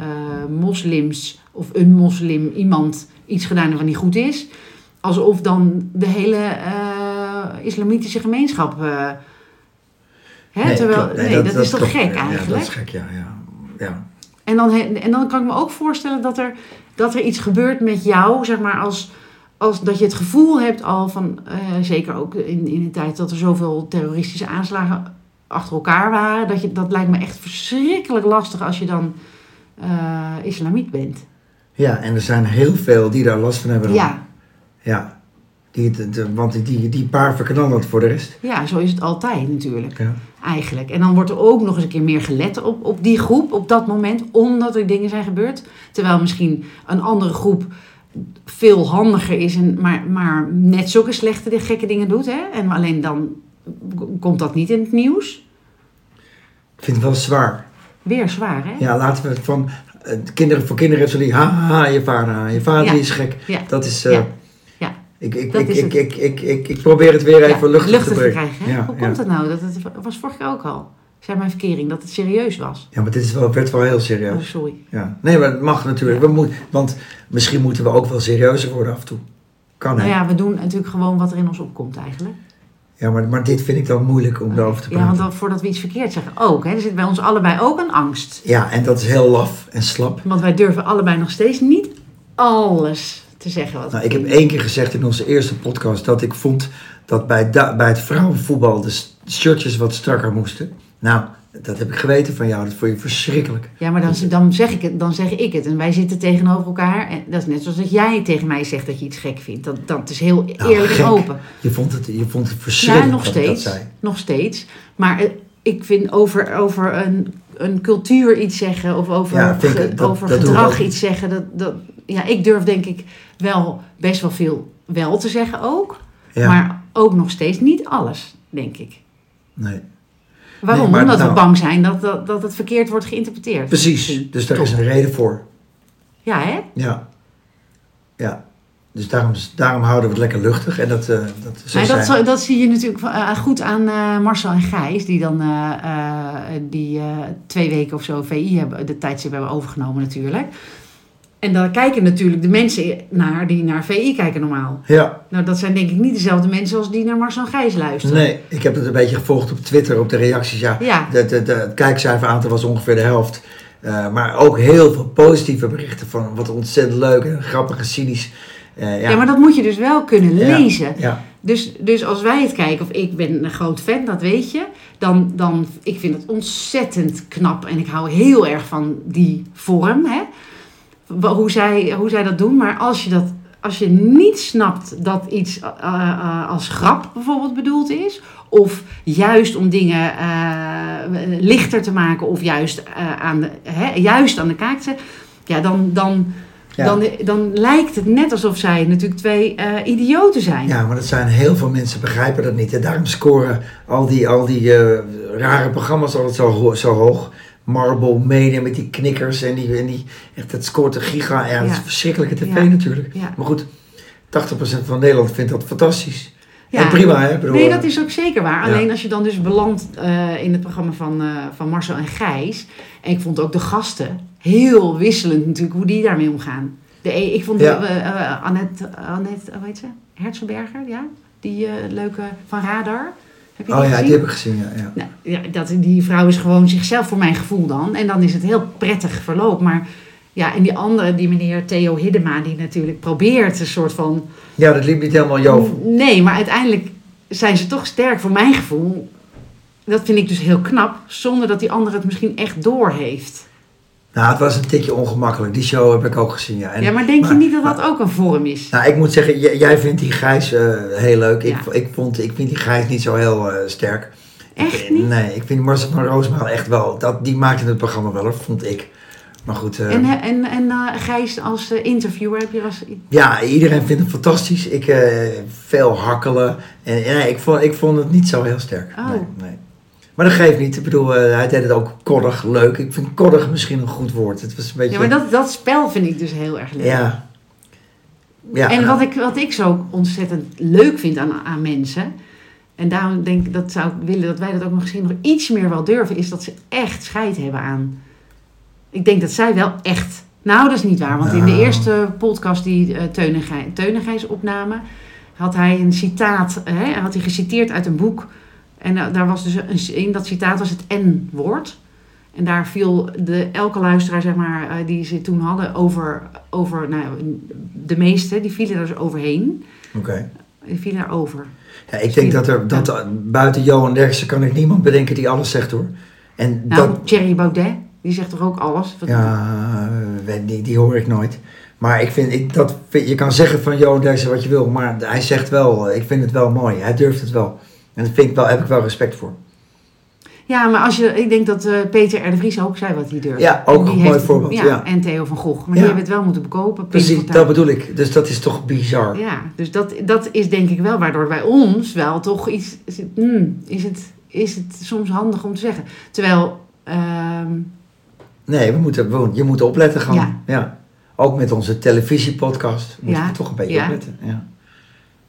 Speaker 2: moslims of een moslim iemand iets gedaan heeft wat niet goed is. Alsof dan de hele eh, islamitische gemeenschap. eh, hè,
Speaker 1: Nee,
Speaker 2: terwijl,
Speaker 1: klopt.
Speaker 2: nee, dat, is toch
Speaker 1: klopt.
Speaker 2: gek
Speaker 1: Ja, dat
Speaker 2: eigenlijk?
Speaker 1: is gek, ja. ja. ja.
Speaker 2: En dan, he- en dan kan ik me ook voorstellen dat er, dat er iets gebeurt met jou, zeg maar, als, als dat je het gevoel hebt al van, eh, zeker ook in, in de tijd dat er zoveel terroristische aanslagen achter elkaar waren, dat, je, dat lijkt me echt verschrikkelijk lastig als je dan eh, islamiet bent.
Speaker 1: Ja, en er zijn heel veel die daar last van hebben. dan.
Speaker 2: Ja,
Speaker 1: ja. Die, het- de- want die, die paar verknallen het voor de rest.
Speaker 2: ja, zo is het altijd natuurlijk,
Speaker 1: Ja.
Speaker 2: eigenlijk. En dan wordt er ook nog eens een keer meer gelet op, op die groep, op dat moment, omdat er dingen zijn gebeurd. Terwijl misschien een andere groep veel handiger is, en, maar, maar net zulke slechte gekke dingen doet. Hè? En alleen dan k- komt dat niet in het nieuws.
Speaker 1: Ik vind het wel zwaar.
Speaker 2: Weer zwaar, hè?
Speaker 1: Ja, laten we het van eh, kinderen voor kinderen hebben zo die ha, ha, ha, je vader, ha, je vader
Speaker 2: Ja.
Speaker 1: die is gek.
Speaker 2: Ja.
Speaker 1: Dat is. eh,
Speaker 2: Ja. Ja.
Speaker 1: Ik, ik,
Speaker 2: Dat
Speaker 1: ik,
Speaker 2: is
Speaker 1: ik,
Speaker 2: het.
Speaker 1: ik, ik, ik, ik probeer het weer even
Speaker 2: Ja,
Speaker 1: luchtig, te brengen.
Speaker 2: krijgen. Hè?
Speaker 1: Ja,
Speaker 2: Hoe
Speaker 1: ja.
Speaker 2: komt dat nou? Dat het, was vorig jaar ook al. Zei mijn verkering dat het serieus was.
Speaker 1: Ja, maar dit is wel, werd wel heel
Speaker 2: Oh,
Speaker 1: serieus.
Speaker 2: sorry.
Speaker 1: Ja. Nee, maar het mag natuurlijk. We moet, want misschien moeten we ook wel serieuzer worden af en toe. Kan hè?
Speaker 2: Nou ja, we doen natuurlijk gewoon wat er in ons opkomt eigenlijk.
Speaker 1: Ja, maar, maar dit vind ik dan moeilijk om daarover te
Speaker 2: Ja,
Speaker 1: praten.
Speaker 2: want dan, voordat we iets verkeerd zeggen ook. Hè, er zit bij ons allebei ook een angst.
Speaker 1: Ja, en dat is heel laf en slap.
Speaker 2: Want wij durven allebei nog steeds niet alles te zeggen. Wat
Speaker 1: Nou,
Speaker 2: we
Speaker 1: ik heb
Speaker 2: vinden.
Speaker 1: één keer gezegd in onze eerste podcast dat ik vond dat bij, da- bij het vrouwenvoetbal de s- shirtjes wat strakker moesten. Nou, dat heb ik geweten van jou. Dat vond je verschrikkelijk.
Speaker 2: Ja, maar dan, dan, zeg ik het, dan zeg ik het. En wij zitten tegenover elkaar. En dat is net zoals dat jij tegen mij zegt dat je iets gek vindt. Dat, dat is heel
Speaker 1: Nou,
Speaker 2: eerlijk
Speaker 1: gek.
Speaker 2: en open.
Speaker 1: Je vond het, je vond het
Speaker 2: Ja,
Speaker 1: verschrikkelijk.
Speaker 2: nog
Speaker 1: dat ik dat
Speaker 2: steeds.
Speaker 1: zei.
Speaker 2: Nog steeds. Maar eh, ik vind over, over een, een cultuur iets zeggen of over,
Speaker 1: Ja, vind ik,
Speaker 2: ge-
Speaker 1: dat- dat
Speaker 2: over
Speaker 1: doen we
Speaker 2: gedrag
Speaker 1: ook.
Speaker 2: iets zeggen. Dat, dat, ja, ik durf denk ik wel best wel veel wel te zeggen ook.
Speaker 1: Ja,
Speaker 2: Maar ook nog steeds niet alles, denk ik.
Speaker 1: nee.
Speaker 2: Waarom?
Speaker 1: Nee, maar
Speaker 2: Omdat
Speaker 1: nou-
Speaker 2: we bang zijn dat, dat, dat het verkeerd wordt geïnterpreteerd.
Speaker 1: Precies, dus daar is een reden voor.
Speaker 2: Ja, hè?
Speaker 1: Ja. Ja. Dus daarom, daarom houden we het lekker luchtig. En dat, eh dat zo
Speaker 2: Maar dat,
Speaker 1: zijn.
Speaker 2: zo- dat zie je natuurlijk van, eh, goed aan eh, Marcel en Gijs, die dan eh, eh, die, eh, twee weken of zo VI hebben, de tijdstip hebben overgenomen natuurlijk. En daar kijken natuurlijk de mensen naar die naar VI kijken normaal.
Speaker 1: Ja,
Speaker 2: Nou, dat zijn denk ik niet dezelfde mensen als die naar Marcel en Gijs luisteren.
Speaker 1: nee. Ik heb het een beetje gevolgd op Twitter, op de reacties. Ja,
Speaker 2: Ja.
Speaker 1: De, de, de, het kijkcijferaantal was ongeveer de helft. Eh, maar ook heel veel positieve berichten van wat ontzettend leuk en grappig en cynisch. Eh,
Speaker 2: Ja. maar dat moet je dus wel kunnen
Speaker 1: Ja.
Speaker 2: lezen.
Speaker 1: Ja.
Speaker 2: Dus, dus als wij het kijken, of ik ben een groot fan, dat weet je, dan, dan ik vind het ontzettend knap en ik hou heel erg van die vorm, hè? Wa- Hoe, zij, hoe zij dat doen. Maar als je, dat, als je niet snapt dat iets eh, eh, als grap bijvoorbeeld bedoeld is, of juist om dingen eh, lichter te maken, of juist, eh, aan, de, hè, juist aan de kaak te zetten, ja, dan, dan,
Speaker 1: Ja.
Speaker 2: dan, dan lijkt het net alsof zij natuurlijk twee eh, idioten zijn.
Speaker 1: Ja, maar dat zijn heel veel mensen begrijpen dat niet. En daarom scoren al die, al die eh, rare programma's altijd zo, ho- zo hoog. Marble Media met die knikkers en die, en die echt, dat scoort een giga. Ja, dat is
Speaker 2: Ja.
Speaker 1: verschrikkelijke tv
Speaker 2: Ja.
Speaker 1: natuurlijk.
Speaker 2: Ja.
Speaker 1: Maar goed, 80% van Nederland vindt dat fantastisch.
Speaker 2: Ja.
Speaker 1: En prima, hè? Ik Bedoel, eh,
Speaker 2: Nee, dat is ook zeker waar.
Speaker 1: Ja.
Speaker 2: Alleen als je dan dus belandt eh, in het programma van, eh, van Marcel en Gijs. En ik vond ook de gasten heel wisselend natuurlijk hoe die daarmee omgaan. De, e- ik vond
Speaker 1: Ja.
Speaker 2: eh, eh, Annette, Annette, hoe heet ze? Herzenberger, ja? Die eh, leuke van Radar. Heb je
Speaker 1: Oh
Speaker 2: die
Speaker 1: ja,
Speaker 2: gezien?
Speaker 1: die heb ik gezien, ja. ja.
Speaker 2: Nou, ja, dat, die vrouw is gewoon zichzelf voor mijn gevoel dan. En dan is het heel prettig verloop. Maar ja, en die andere, die meneer Theo Hiddema, die natuurlijk probeert een soort van...
Speaker 1: Ja, dat liep niet helemaal
Speaker 2: Mm.
Speaker 1: jou.
Speaker 2: Nee, maar uiteindelijk zijn ze toch sterk voor mijn gevoel. Dat vind ik dus heel knap, zonder dat die ander het misschien echt doorheeft.
Speaker 1: Nou, het was een tikje ongemakkelijk. Die show heb ik ook gezien, ja. En-
Speaker 2: ja, maar denk je niet dat
Speaker 1: maar-
Speaker 2: dat ook een vorm is?
Speaker 1: Nou, ik moet zeggen, j- jij vindt die Gijs eh, heel leuk. Ik,
Speaker 2: Ja.
Speaker 1: ik, vond, ik vind die Gijs niet zo heel eh, sterk.
Speaker 2: Echt
Speaker 1: Ik-
Speaker 2: niet?
Speaker 1: Nee, ik vind Marcel van Roosmaal echt wel. Dat, die maakte het programma wel, hoor, vond ik. Maar goed, eh,
Speaker 2: En, eh, en, en eh, Gijs als eh, interviewer heb je als...
Speaker 1: ja, iedereen vindt het fantastisch. Ik eh, veel hakkelen. En, nee, ik, vond, ik vond het niet zo heel sterk.
Speaker 2: Oh.
Speaker 1: Nee, nee. Maar dat geeft niet. Ik bedoel, eh, hij deed het ook koddig leuk. Ik vind koddig misschien een goed woord. Het was een beetje...
Speaker 2: Ja, maar dat, dat spel vind ik dus heel erg leuk.
Speaker 1: Ja. Ja,
Speaker 2: en
Speaker 1: nou,
Speaker 2: wat ik, wat ik zo ontzettend leuk vind aan, aan mensen... en daarom denk ik, dat zou ik willen dat wij dat ook nog misschien nog iets meer wel durven... is dat ze echt scheid hebben aan... Ik denk dat zij wel echt... Nou, dat is niet waar. Want in de
Speaker 1: Nou.
Speaker 2: eerste podcast die eh Teun en Gij- Teun en Gijs opnamen... had hij een citaat, hè, had hij geciteerd uit een boek... En eh, daar was dus een, in dat citaat was het N-woord. En daar viel de, elke luisteraar, zeg maar, eh, die ze toen hadden, over, over nou, de meeste, die vielen er dus overheen.
Speaker 1: Oké.
Speaker 2: Die vielen er over.
Speaker 1: Ja, ik denk dat er dat, er- buiten Johan Derksen kan ik niemand bedenken die alles zegt hoor. En
Speaker 2: Nou,
Speaker 1: dat,
Speaker 2: Thierry Baudet, die zegt toch ook alles? Wat-
Speaker 1: ja, eh, weet niet, die hoor ik nooit. Maar ik vind, ik, dat, vind- je kan zeggen van Johan Derksen wat je wil, maar hij zegt wel, eh, ik vind het wel mooi. Hij durft het wel. En dat vind ik wel, heb ik wel respect voor.
Speaker 2: Ja, maar als je, ik denk dat eh, Peter R. de Vries ook zei wat hij durfde.
Speaker 1: Ja, ook
Speaker 2: En die
Speaker 1: een mooi
Speaker 2: heeft-
Speaker 1: voorbeeld, ja.
Speaker 2: En Theo van Gogh. Maar
Speaker 1: Ja.
Speaker 2: die hebben het wel moeten bekopen. Pim
Speaker 1: Precies,
Speaker 2: Fortuyn.
Speaker 1: dat bedoel ik. Dus dat is toch bizar.
Speaker 2: Ja, dus dat, dat is denk ik wel waardoor bij ons wel toch iets... Is het, hmm, is het, is het soms handig om te zeggen. Terwijl... ehm,
Speaker 1: Nee, we moeten, we- je moet opletten gewoon. Ja.
Speaker 2: Ja.
Speaker 1: Ook met onze televisiepodcast moeten
Speaker 2: Ja,
Speaker 1: we toch een beetje
Speaker 2: ja.
Speaker 1: opletten. Ja.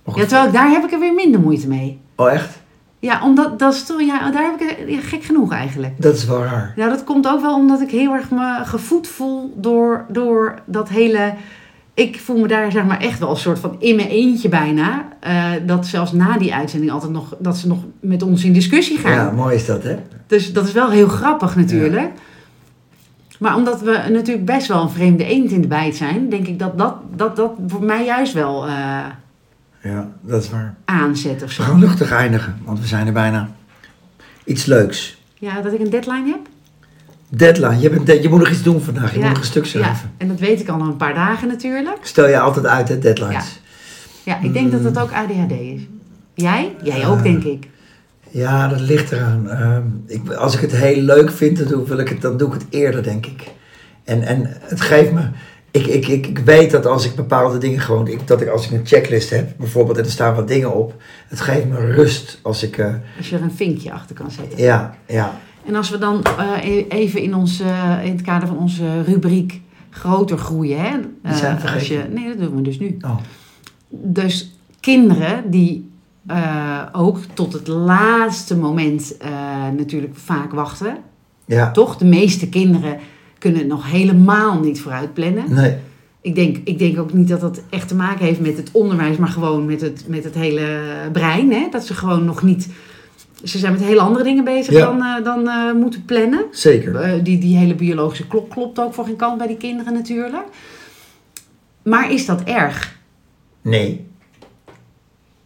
Speaker 1: Maar goed.
Speaker 2: ja, terwijl ik- daar heb ik er weer minder moeite mee.
Speaker 1: Oh echt?
Speaker 2: Ja, omdat dat is toch... Ja, daar heb ik er- ja, gek genoeg eigenlijk.
Speaker 1: Dat is wel raar.
Speaker 2: Nou, dat komt ook wel omdat ik heel erg me gevoed voel door, door dat hele... Ik voel me daar zeg maar echt wel een soort van in mijn eentje bijna. eh, dat zelfs na die uitzending altijd nog... Dat ze nog met ons in discussie gaan.
Speaker 1: Ja, mooi is dat hè?
Speaker 2: Dus dat is wel heel grappig natuurlijk. Maar omdat we natuurlijk best wel een vreemde eend in de bijt zijn, denk ik dat dat, dat, dat voor mij juist wel eh,
Speaker 1: Ja, dat is waar.
Speaker 2: aanzet of
Speaker 1: We
Speaker 2: zo.
Speaker 1: gaan luchtig eindigen, want we zijn er bijna. Iets leuks.
Speaker 2: Ja, dat ik een deadline heb.
Speaker 1: Deadline. Je, hebt een de- je moet nog iets doen vandaag. Je
Speaker 2: ja.
Speaker 1: moet nog een stuk schrijven.
Speaker 2: Ja, en dat weet ik al een paar dagen natuurlijk.
Speaker 1: Stel je altijd uit, hè, deadlines. Mm.
Speaker 2: Ja, ik denk dat dat ook ADHD is. Jij? Jij ook, denk ik.
Speaker 1: Ja. Ja, dat ligt eraan. Ehm, ik, als ik het heel leuk vind, dan doe, wil ik het, dan doe ik het eerder, denk ik. En, en het geeft me. Ik, ik, ik, ik weet dat als ik bepaalde dingen gewoon. Ik, dat ik als ik een checklist heb, bijvoorbeeld, en er staan wat dingen op. Het geeft me rust als ik. eh,
Speaker 2: Als je er een vinkje achter kan zetten.
Speaker 1: ja, ja.
Speaker 2: En als we dan eh, e- even in, ons, eh, in het kader van onze rubriek groter groeien. Hè? eh,
Speaker 1: zijn
Speaker 2: als
Speaker 1: vergeten.
Speaker 2: je, nee, dat doen we dus nu.
Speaker 1: Oh,
Speaker 2: Dus kinderen die eh, ook tot het laatste moment eh, natuurlijk vaak wachten.
Speaker 1: ja.
Speaker 2: Toch? De meeste kinderen kunnen het nog helemaal niet vooruit plannen.
Speaker 1: Nee.
Speaker 2: Ik denk, ik denk ook niet dat dat echt te maken heeft met het onderwijs, maar gewoon met het, met het hele brein. Hè? Dat ze gewoon nog niet. Ze zijn met hele andere dingen bezig
Speaker 1: Ja.
Speaker 2: dan, eh, dan eh, moeten plannen.
Speaker 1: Zeker.
Speaker 2: Eh, die, die hele biologische klok klopt ook voor geen kant bij die kinderen natuurlijk. Maar is dat erg?
Speaker 1: Nee.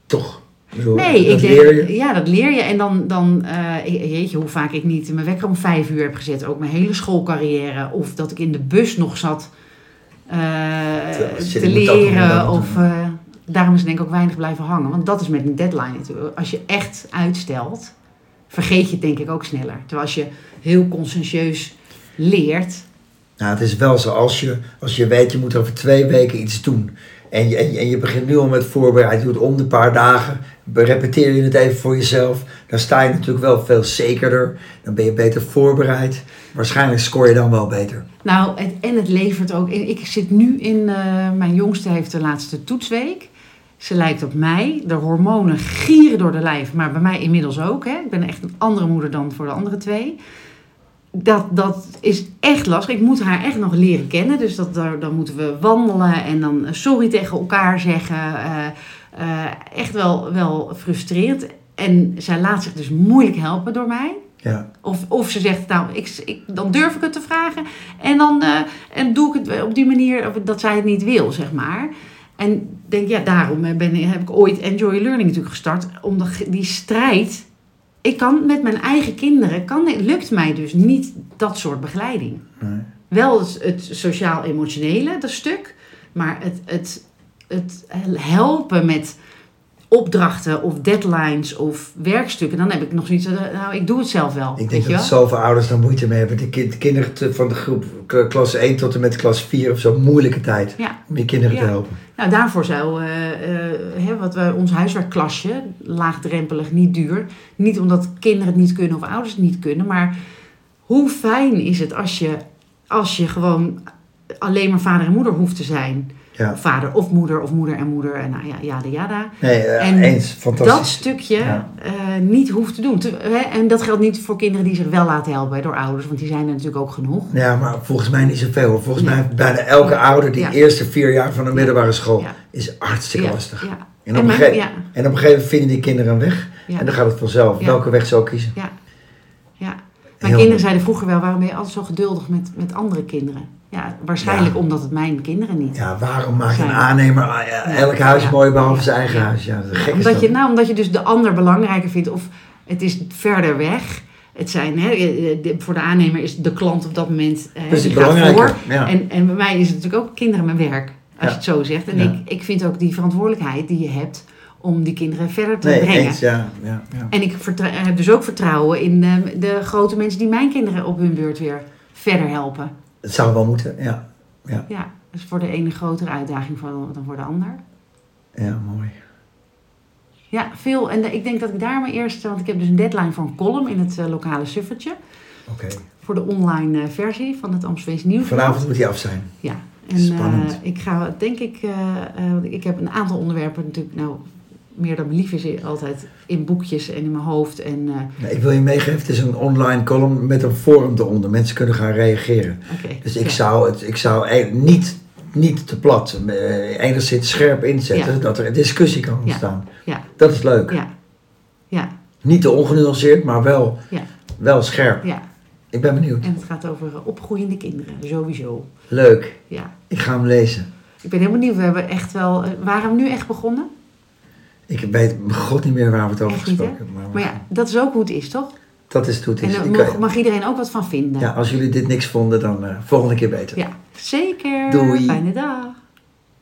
Speaker 1: Toch? Ik bedoel,
Speaker 2: Nee,
Speaker 1: dat
Speaker 2: ik denk,
Speaker 1: leer je.
Speaker 2: ja, dat leer je. En dan, dan eh, jeetje, hoe vaak ik niet mijn wekker om vijf uur heb gezet. Ook mijn hele schoolcarrière. Of dat ik in de bus nog zat eh,
Speaker 1: shit,
Speaker 2: te
Speaker 1: ik moet dat nog
Speaker 2: leren.
Speaker 1: doen.
Speaker 2: Of, eh, daarom is denk ik ook weinig blijven hangen. Want dat is met een deadline natuurlijk. Als je echt uitstelt, vergeet je het denk ik ook sneller. Terwijl als je heel conscientieus leert,
Speaker 1: Nou, het is wel zo, als je, als je weet, je moet over twee weken iets doen. En je, en je, en je begint nu al met voorbereid, je doet het om de paar dagen, repeteer je het even voor jezelf. Dan sta je natuurlijk wel veel zekerder, dan ben je beter voorbereid. Waarschijnlijk scoor je dan wel beter.
Speaker 2: Nou, het, en het levert ook. en Ik zit nu in. eh, mijn jongste heeft de laatste toetsweek. Ze lijkt op mij. De hormonen gieren door de lijf, maar bij mij inmiddels ook. Hè. Ik ben echt een andere moeder dan voor de andere twee. Dat, dat is echt lastig. Ik moet haar echt nog leren kennen. Dus dat, daar, dan moeten we wandelen en dan eh, sorry tegen elkaar zeggen. Eh, eh, echt wel, wel frustrerend. En zij laat zich dus moeilijk helpen door mij.
Speaker 1: Ja,
Speaker 2: Of, of ze zegt, nou, ik, ik, dan durf ik het te vragen. En dan eh, en doe ik het op die manier dat zij het niet wil, zeg maar. En denk, ja, daarom eh, ben, heb ik ooit Enjoy Learning natuurlijk gestart. Omdat ge- die strijd, ik kan met mijn eigen kinderen, kan, lukt mij dus niet dat soort begeleiding.
Speaker 1: nee.
Speaker 2: Wel het, het sociaal-emotionele, dat stuk. Maar het, het, het helpen met opdrachten of deadlines of werkstukken. Dan heb ik nog zoiets van, eh, nou, ik doe het zelf wel.
Speaker 1: ik
Speaker 2: weet
Speaker 1: denk
Speaker 2: je
Speaker 1: dat
Speaker 2: wel?
Speaker 1: zoveel ouders daar moeite mee hebben. De, kind, de kinderen te- van de groep k- klas 1 tot en met klas 4 of zo, moeilijke tijd
Speaker 2: Ja.
Speaker 1: om je kinderen
Speaker 2: Ja.
Speaker 1: te helpen.
Speaker 2: Nou, daarvoor zou eh, eh, hè, wat wij, ons huiswerkklasje, laagdrempelig, niet duur. Niet omdat kinderen het niet kunnen of ouders het niet kunnen. Maar hoe fijn is het als je, als je gewoon alleen maar vader en moeder hoeft te zijn.
Speaker 1: Ja,
Speaker 2: Vader of moeder of moeder en moeder en nou ja, jada jada.
Speaker 1: nee, eh,
Speaker 2: En
Speaker 1: eens,
Speaker 2: dat
Speaker 1: fantastisch.
Speaker 2: stukje
Speaker 1: Ja.
Speaker 2: eh, niet hoeft te doen. Te- hè, en dat geldt niet voor kinderen die zich wel laten helpen door ouders, want die zijn er natuurlijk ook genoeg.
Speaker 1: Ja, maar volgens mij niet zoveel. hoor. Volgens
Speaker 2: Nee.
Speaker 1: mij heeft bijna elke ouder die
Speaker 2: Ja.
Speaker 1: eerste vier jaar van de middelbare school
Speaker 2: Ja.
Speaker 1: is hartstikke Oh, lastig.
Speaker 2: Ja.
Speaker 1: En, op een
Speaker 2: mijn-
Speaker 1: gegeven,
Speaker 2: ja,
Speaker 1: en op een gegeven moment vinden die kinderen een weg.
Speaker 2: Ja.
Speaker 1: En dan gaat het vanzelf,
Speaker 2: Ja.
Speaker 1: welke weg ze ook kiezen.
Speaker 2: ja, ja.
Speaker 1: Heel
Speaker 2: Mijn kinderen
Speaker 1: mooi.
Speaker 2: zeiden vroeger wel, waarom ben je altijd zo geduldig met, met andere kinderen? Ja, waarschijnlijk
Speaker 1: Ja.
Speaker 2: omdat het mijn kinderen niet.
Speaker 1: Ja, waarom maakt een
Speaker 2: Zijn.
Speaker 1: aannemer ah, ja, elk huis
Speaker 2: Ja.
Speaker 1: mooi behalve
Speaker 2: Ja.
Speaker 1: zijn eigen
Speaker 2: Ja.
Speaker 1: huis? Ja, dat is gek is
Speaker 2: omdat,
Speaker 1: dat.
Speaker 2: je, nou, omdat je dus de ander belangrijker vindt of het is verder weg. Het zijn, hè, eh, eh, de- voor de aannemer is de klant op dat moment eh,
Speaker 1: Dus
Speaker 2: die
Speaker 1: het
Speaker 2: gaat
Speaker 1: belangrijke.
Speaker 2: voor.
Speaker 1: Ja.
Speaker 2: En, en bij mij is het natuurlijk ook kinderen mijn werk, als
Speaker 1: Ja.
Speaker 2: je het zo zegt. En
Speaker 1: Ja.
Speaker 2: ik, ik vind ook die verantwoordelijkheid die je hebt om die kinderen verder te
Speaker 1: nee,
Speaker 2: brengen.
Speaker 1: eens, ja. ja, ja.
Speaker 2: En ik vertra- heb dus ook vertrouwen in eh, de grote mensen die mijn kinderen op hun beurt weer verder helpen.
Speaker 1: Het zou wel moeten, ja.
Speaker 2: Ja, dat is voor de ene grotere uitdaging voor- dan voor de ander.
Speaker 1: Ja, mooi.
Speaker 2: Ja, veel. En eh, ik denk dat ik daar mijn eerste, want ik heb dus een deadline voor een column in het eh, lokale suffertje.
Speaker 1: Oké.
Speaker 2: Voor de online eh, versie van het Amsterdamse Nieuws.
Speaker 1: Vanavond moet die af zijn.
Speaker 2: Ja. En eh,
Speaker 1: Spannend.
Speaker 2: ik ga, denk ik, eh, eh, want ik heb een aantal onderwerpen natuurlijk, nou, meer dan me lief is altijd in boekjes en in mijn hoofd. En, eh,
Speaker 1: Nou, ik wil je meegeven, het is een online column met een forum eronder. Mensen kunnen gaan reageren.
Speaker 2: oké.
Speaker 1: Dus ik
Speaker 2: Ja.
Speaker 1: zou het ik zou e- niet, niet te plat, eh, enigszins scherp inzetten,
Speaker 2: Ja.
Speaker 1: dat er een discussie kan
Speaker 2: Ja.
Speaker 1: ontstaan.
Speaker 2: Ja.
Speaker 1: Dat is leuk.
Speaker 2: Ja. Ja.
Speaker 1: Niet te ongenuanceerd, maar wel,
Speaker 2: Ja.
Speaker 1: wel scherp.
Speaker 2: Ja.
Speaker 1: Ik ben benieuwd.
Speaker 2: En het gaat over eh, opgroeiende kinderen, sowieso.
Speaker 1: Leuk.
Speaker 2: Ja.
Speaker 1: Ik ga hem lezen.
Speaker 2: Ik ben heel benieuwd. We hebben echt wel. eh, Waren we nu echt begonnen?
Speaker 1: Ik weet mijn god niet meer waar we het over
Speaker 2: Echt niet, hè?
Speaker 1: gesproken hebben. Maar,
Speaker 2: Maar ja, dat is ook hoe het is, toch?
Speaker 1: dat is hoe het
Speaker 2: En eh,
Speaker 1: is.
Speaker 2: daar
Speaker 1: Ik kan-
Speaker 2: mag, mag iedereen ook wat van vinden.
Speaker 1: ja, als jullie dit niks vonden, dan eh, volgende keer beter.
Speaker 2: Ja, zeker.
Speaker 1: Doei.
Speaker 2: Fijne dag.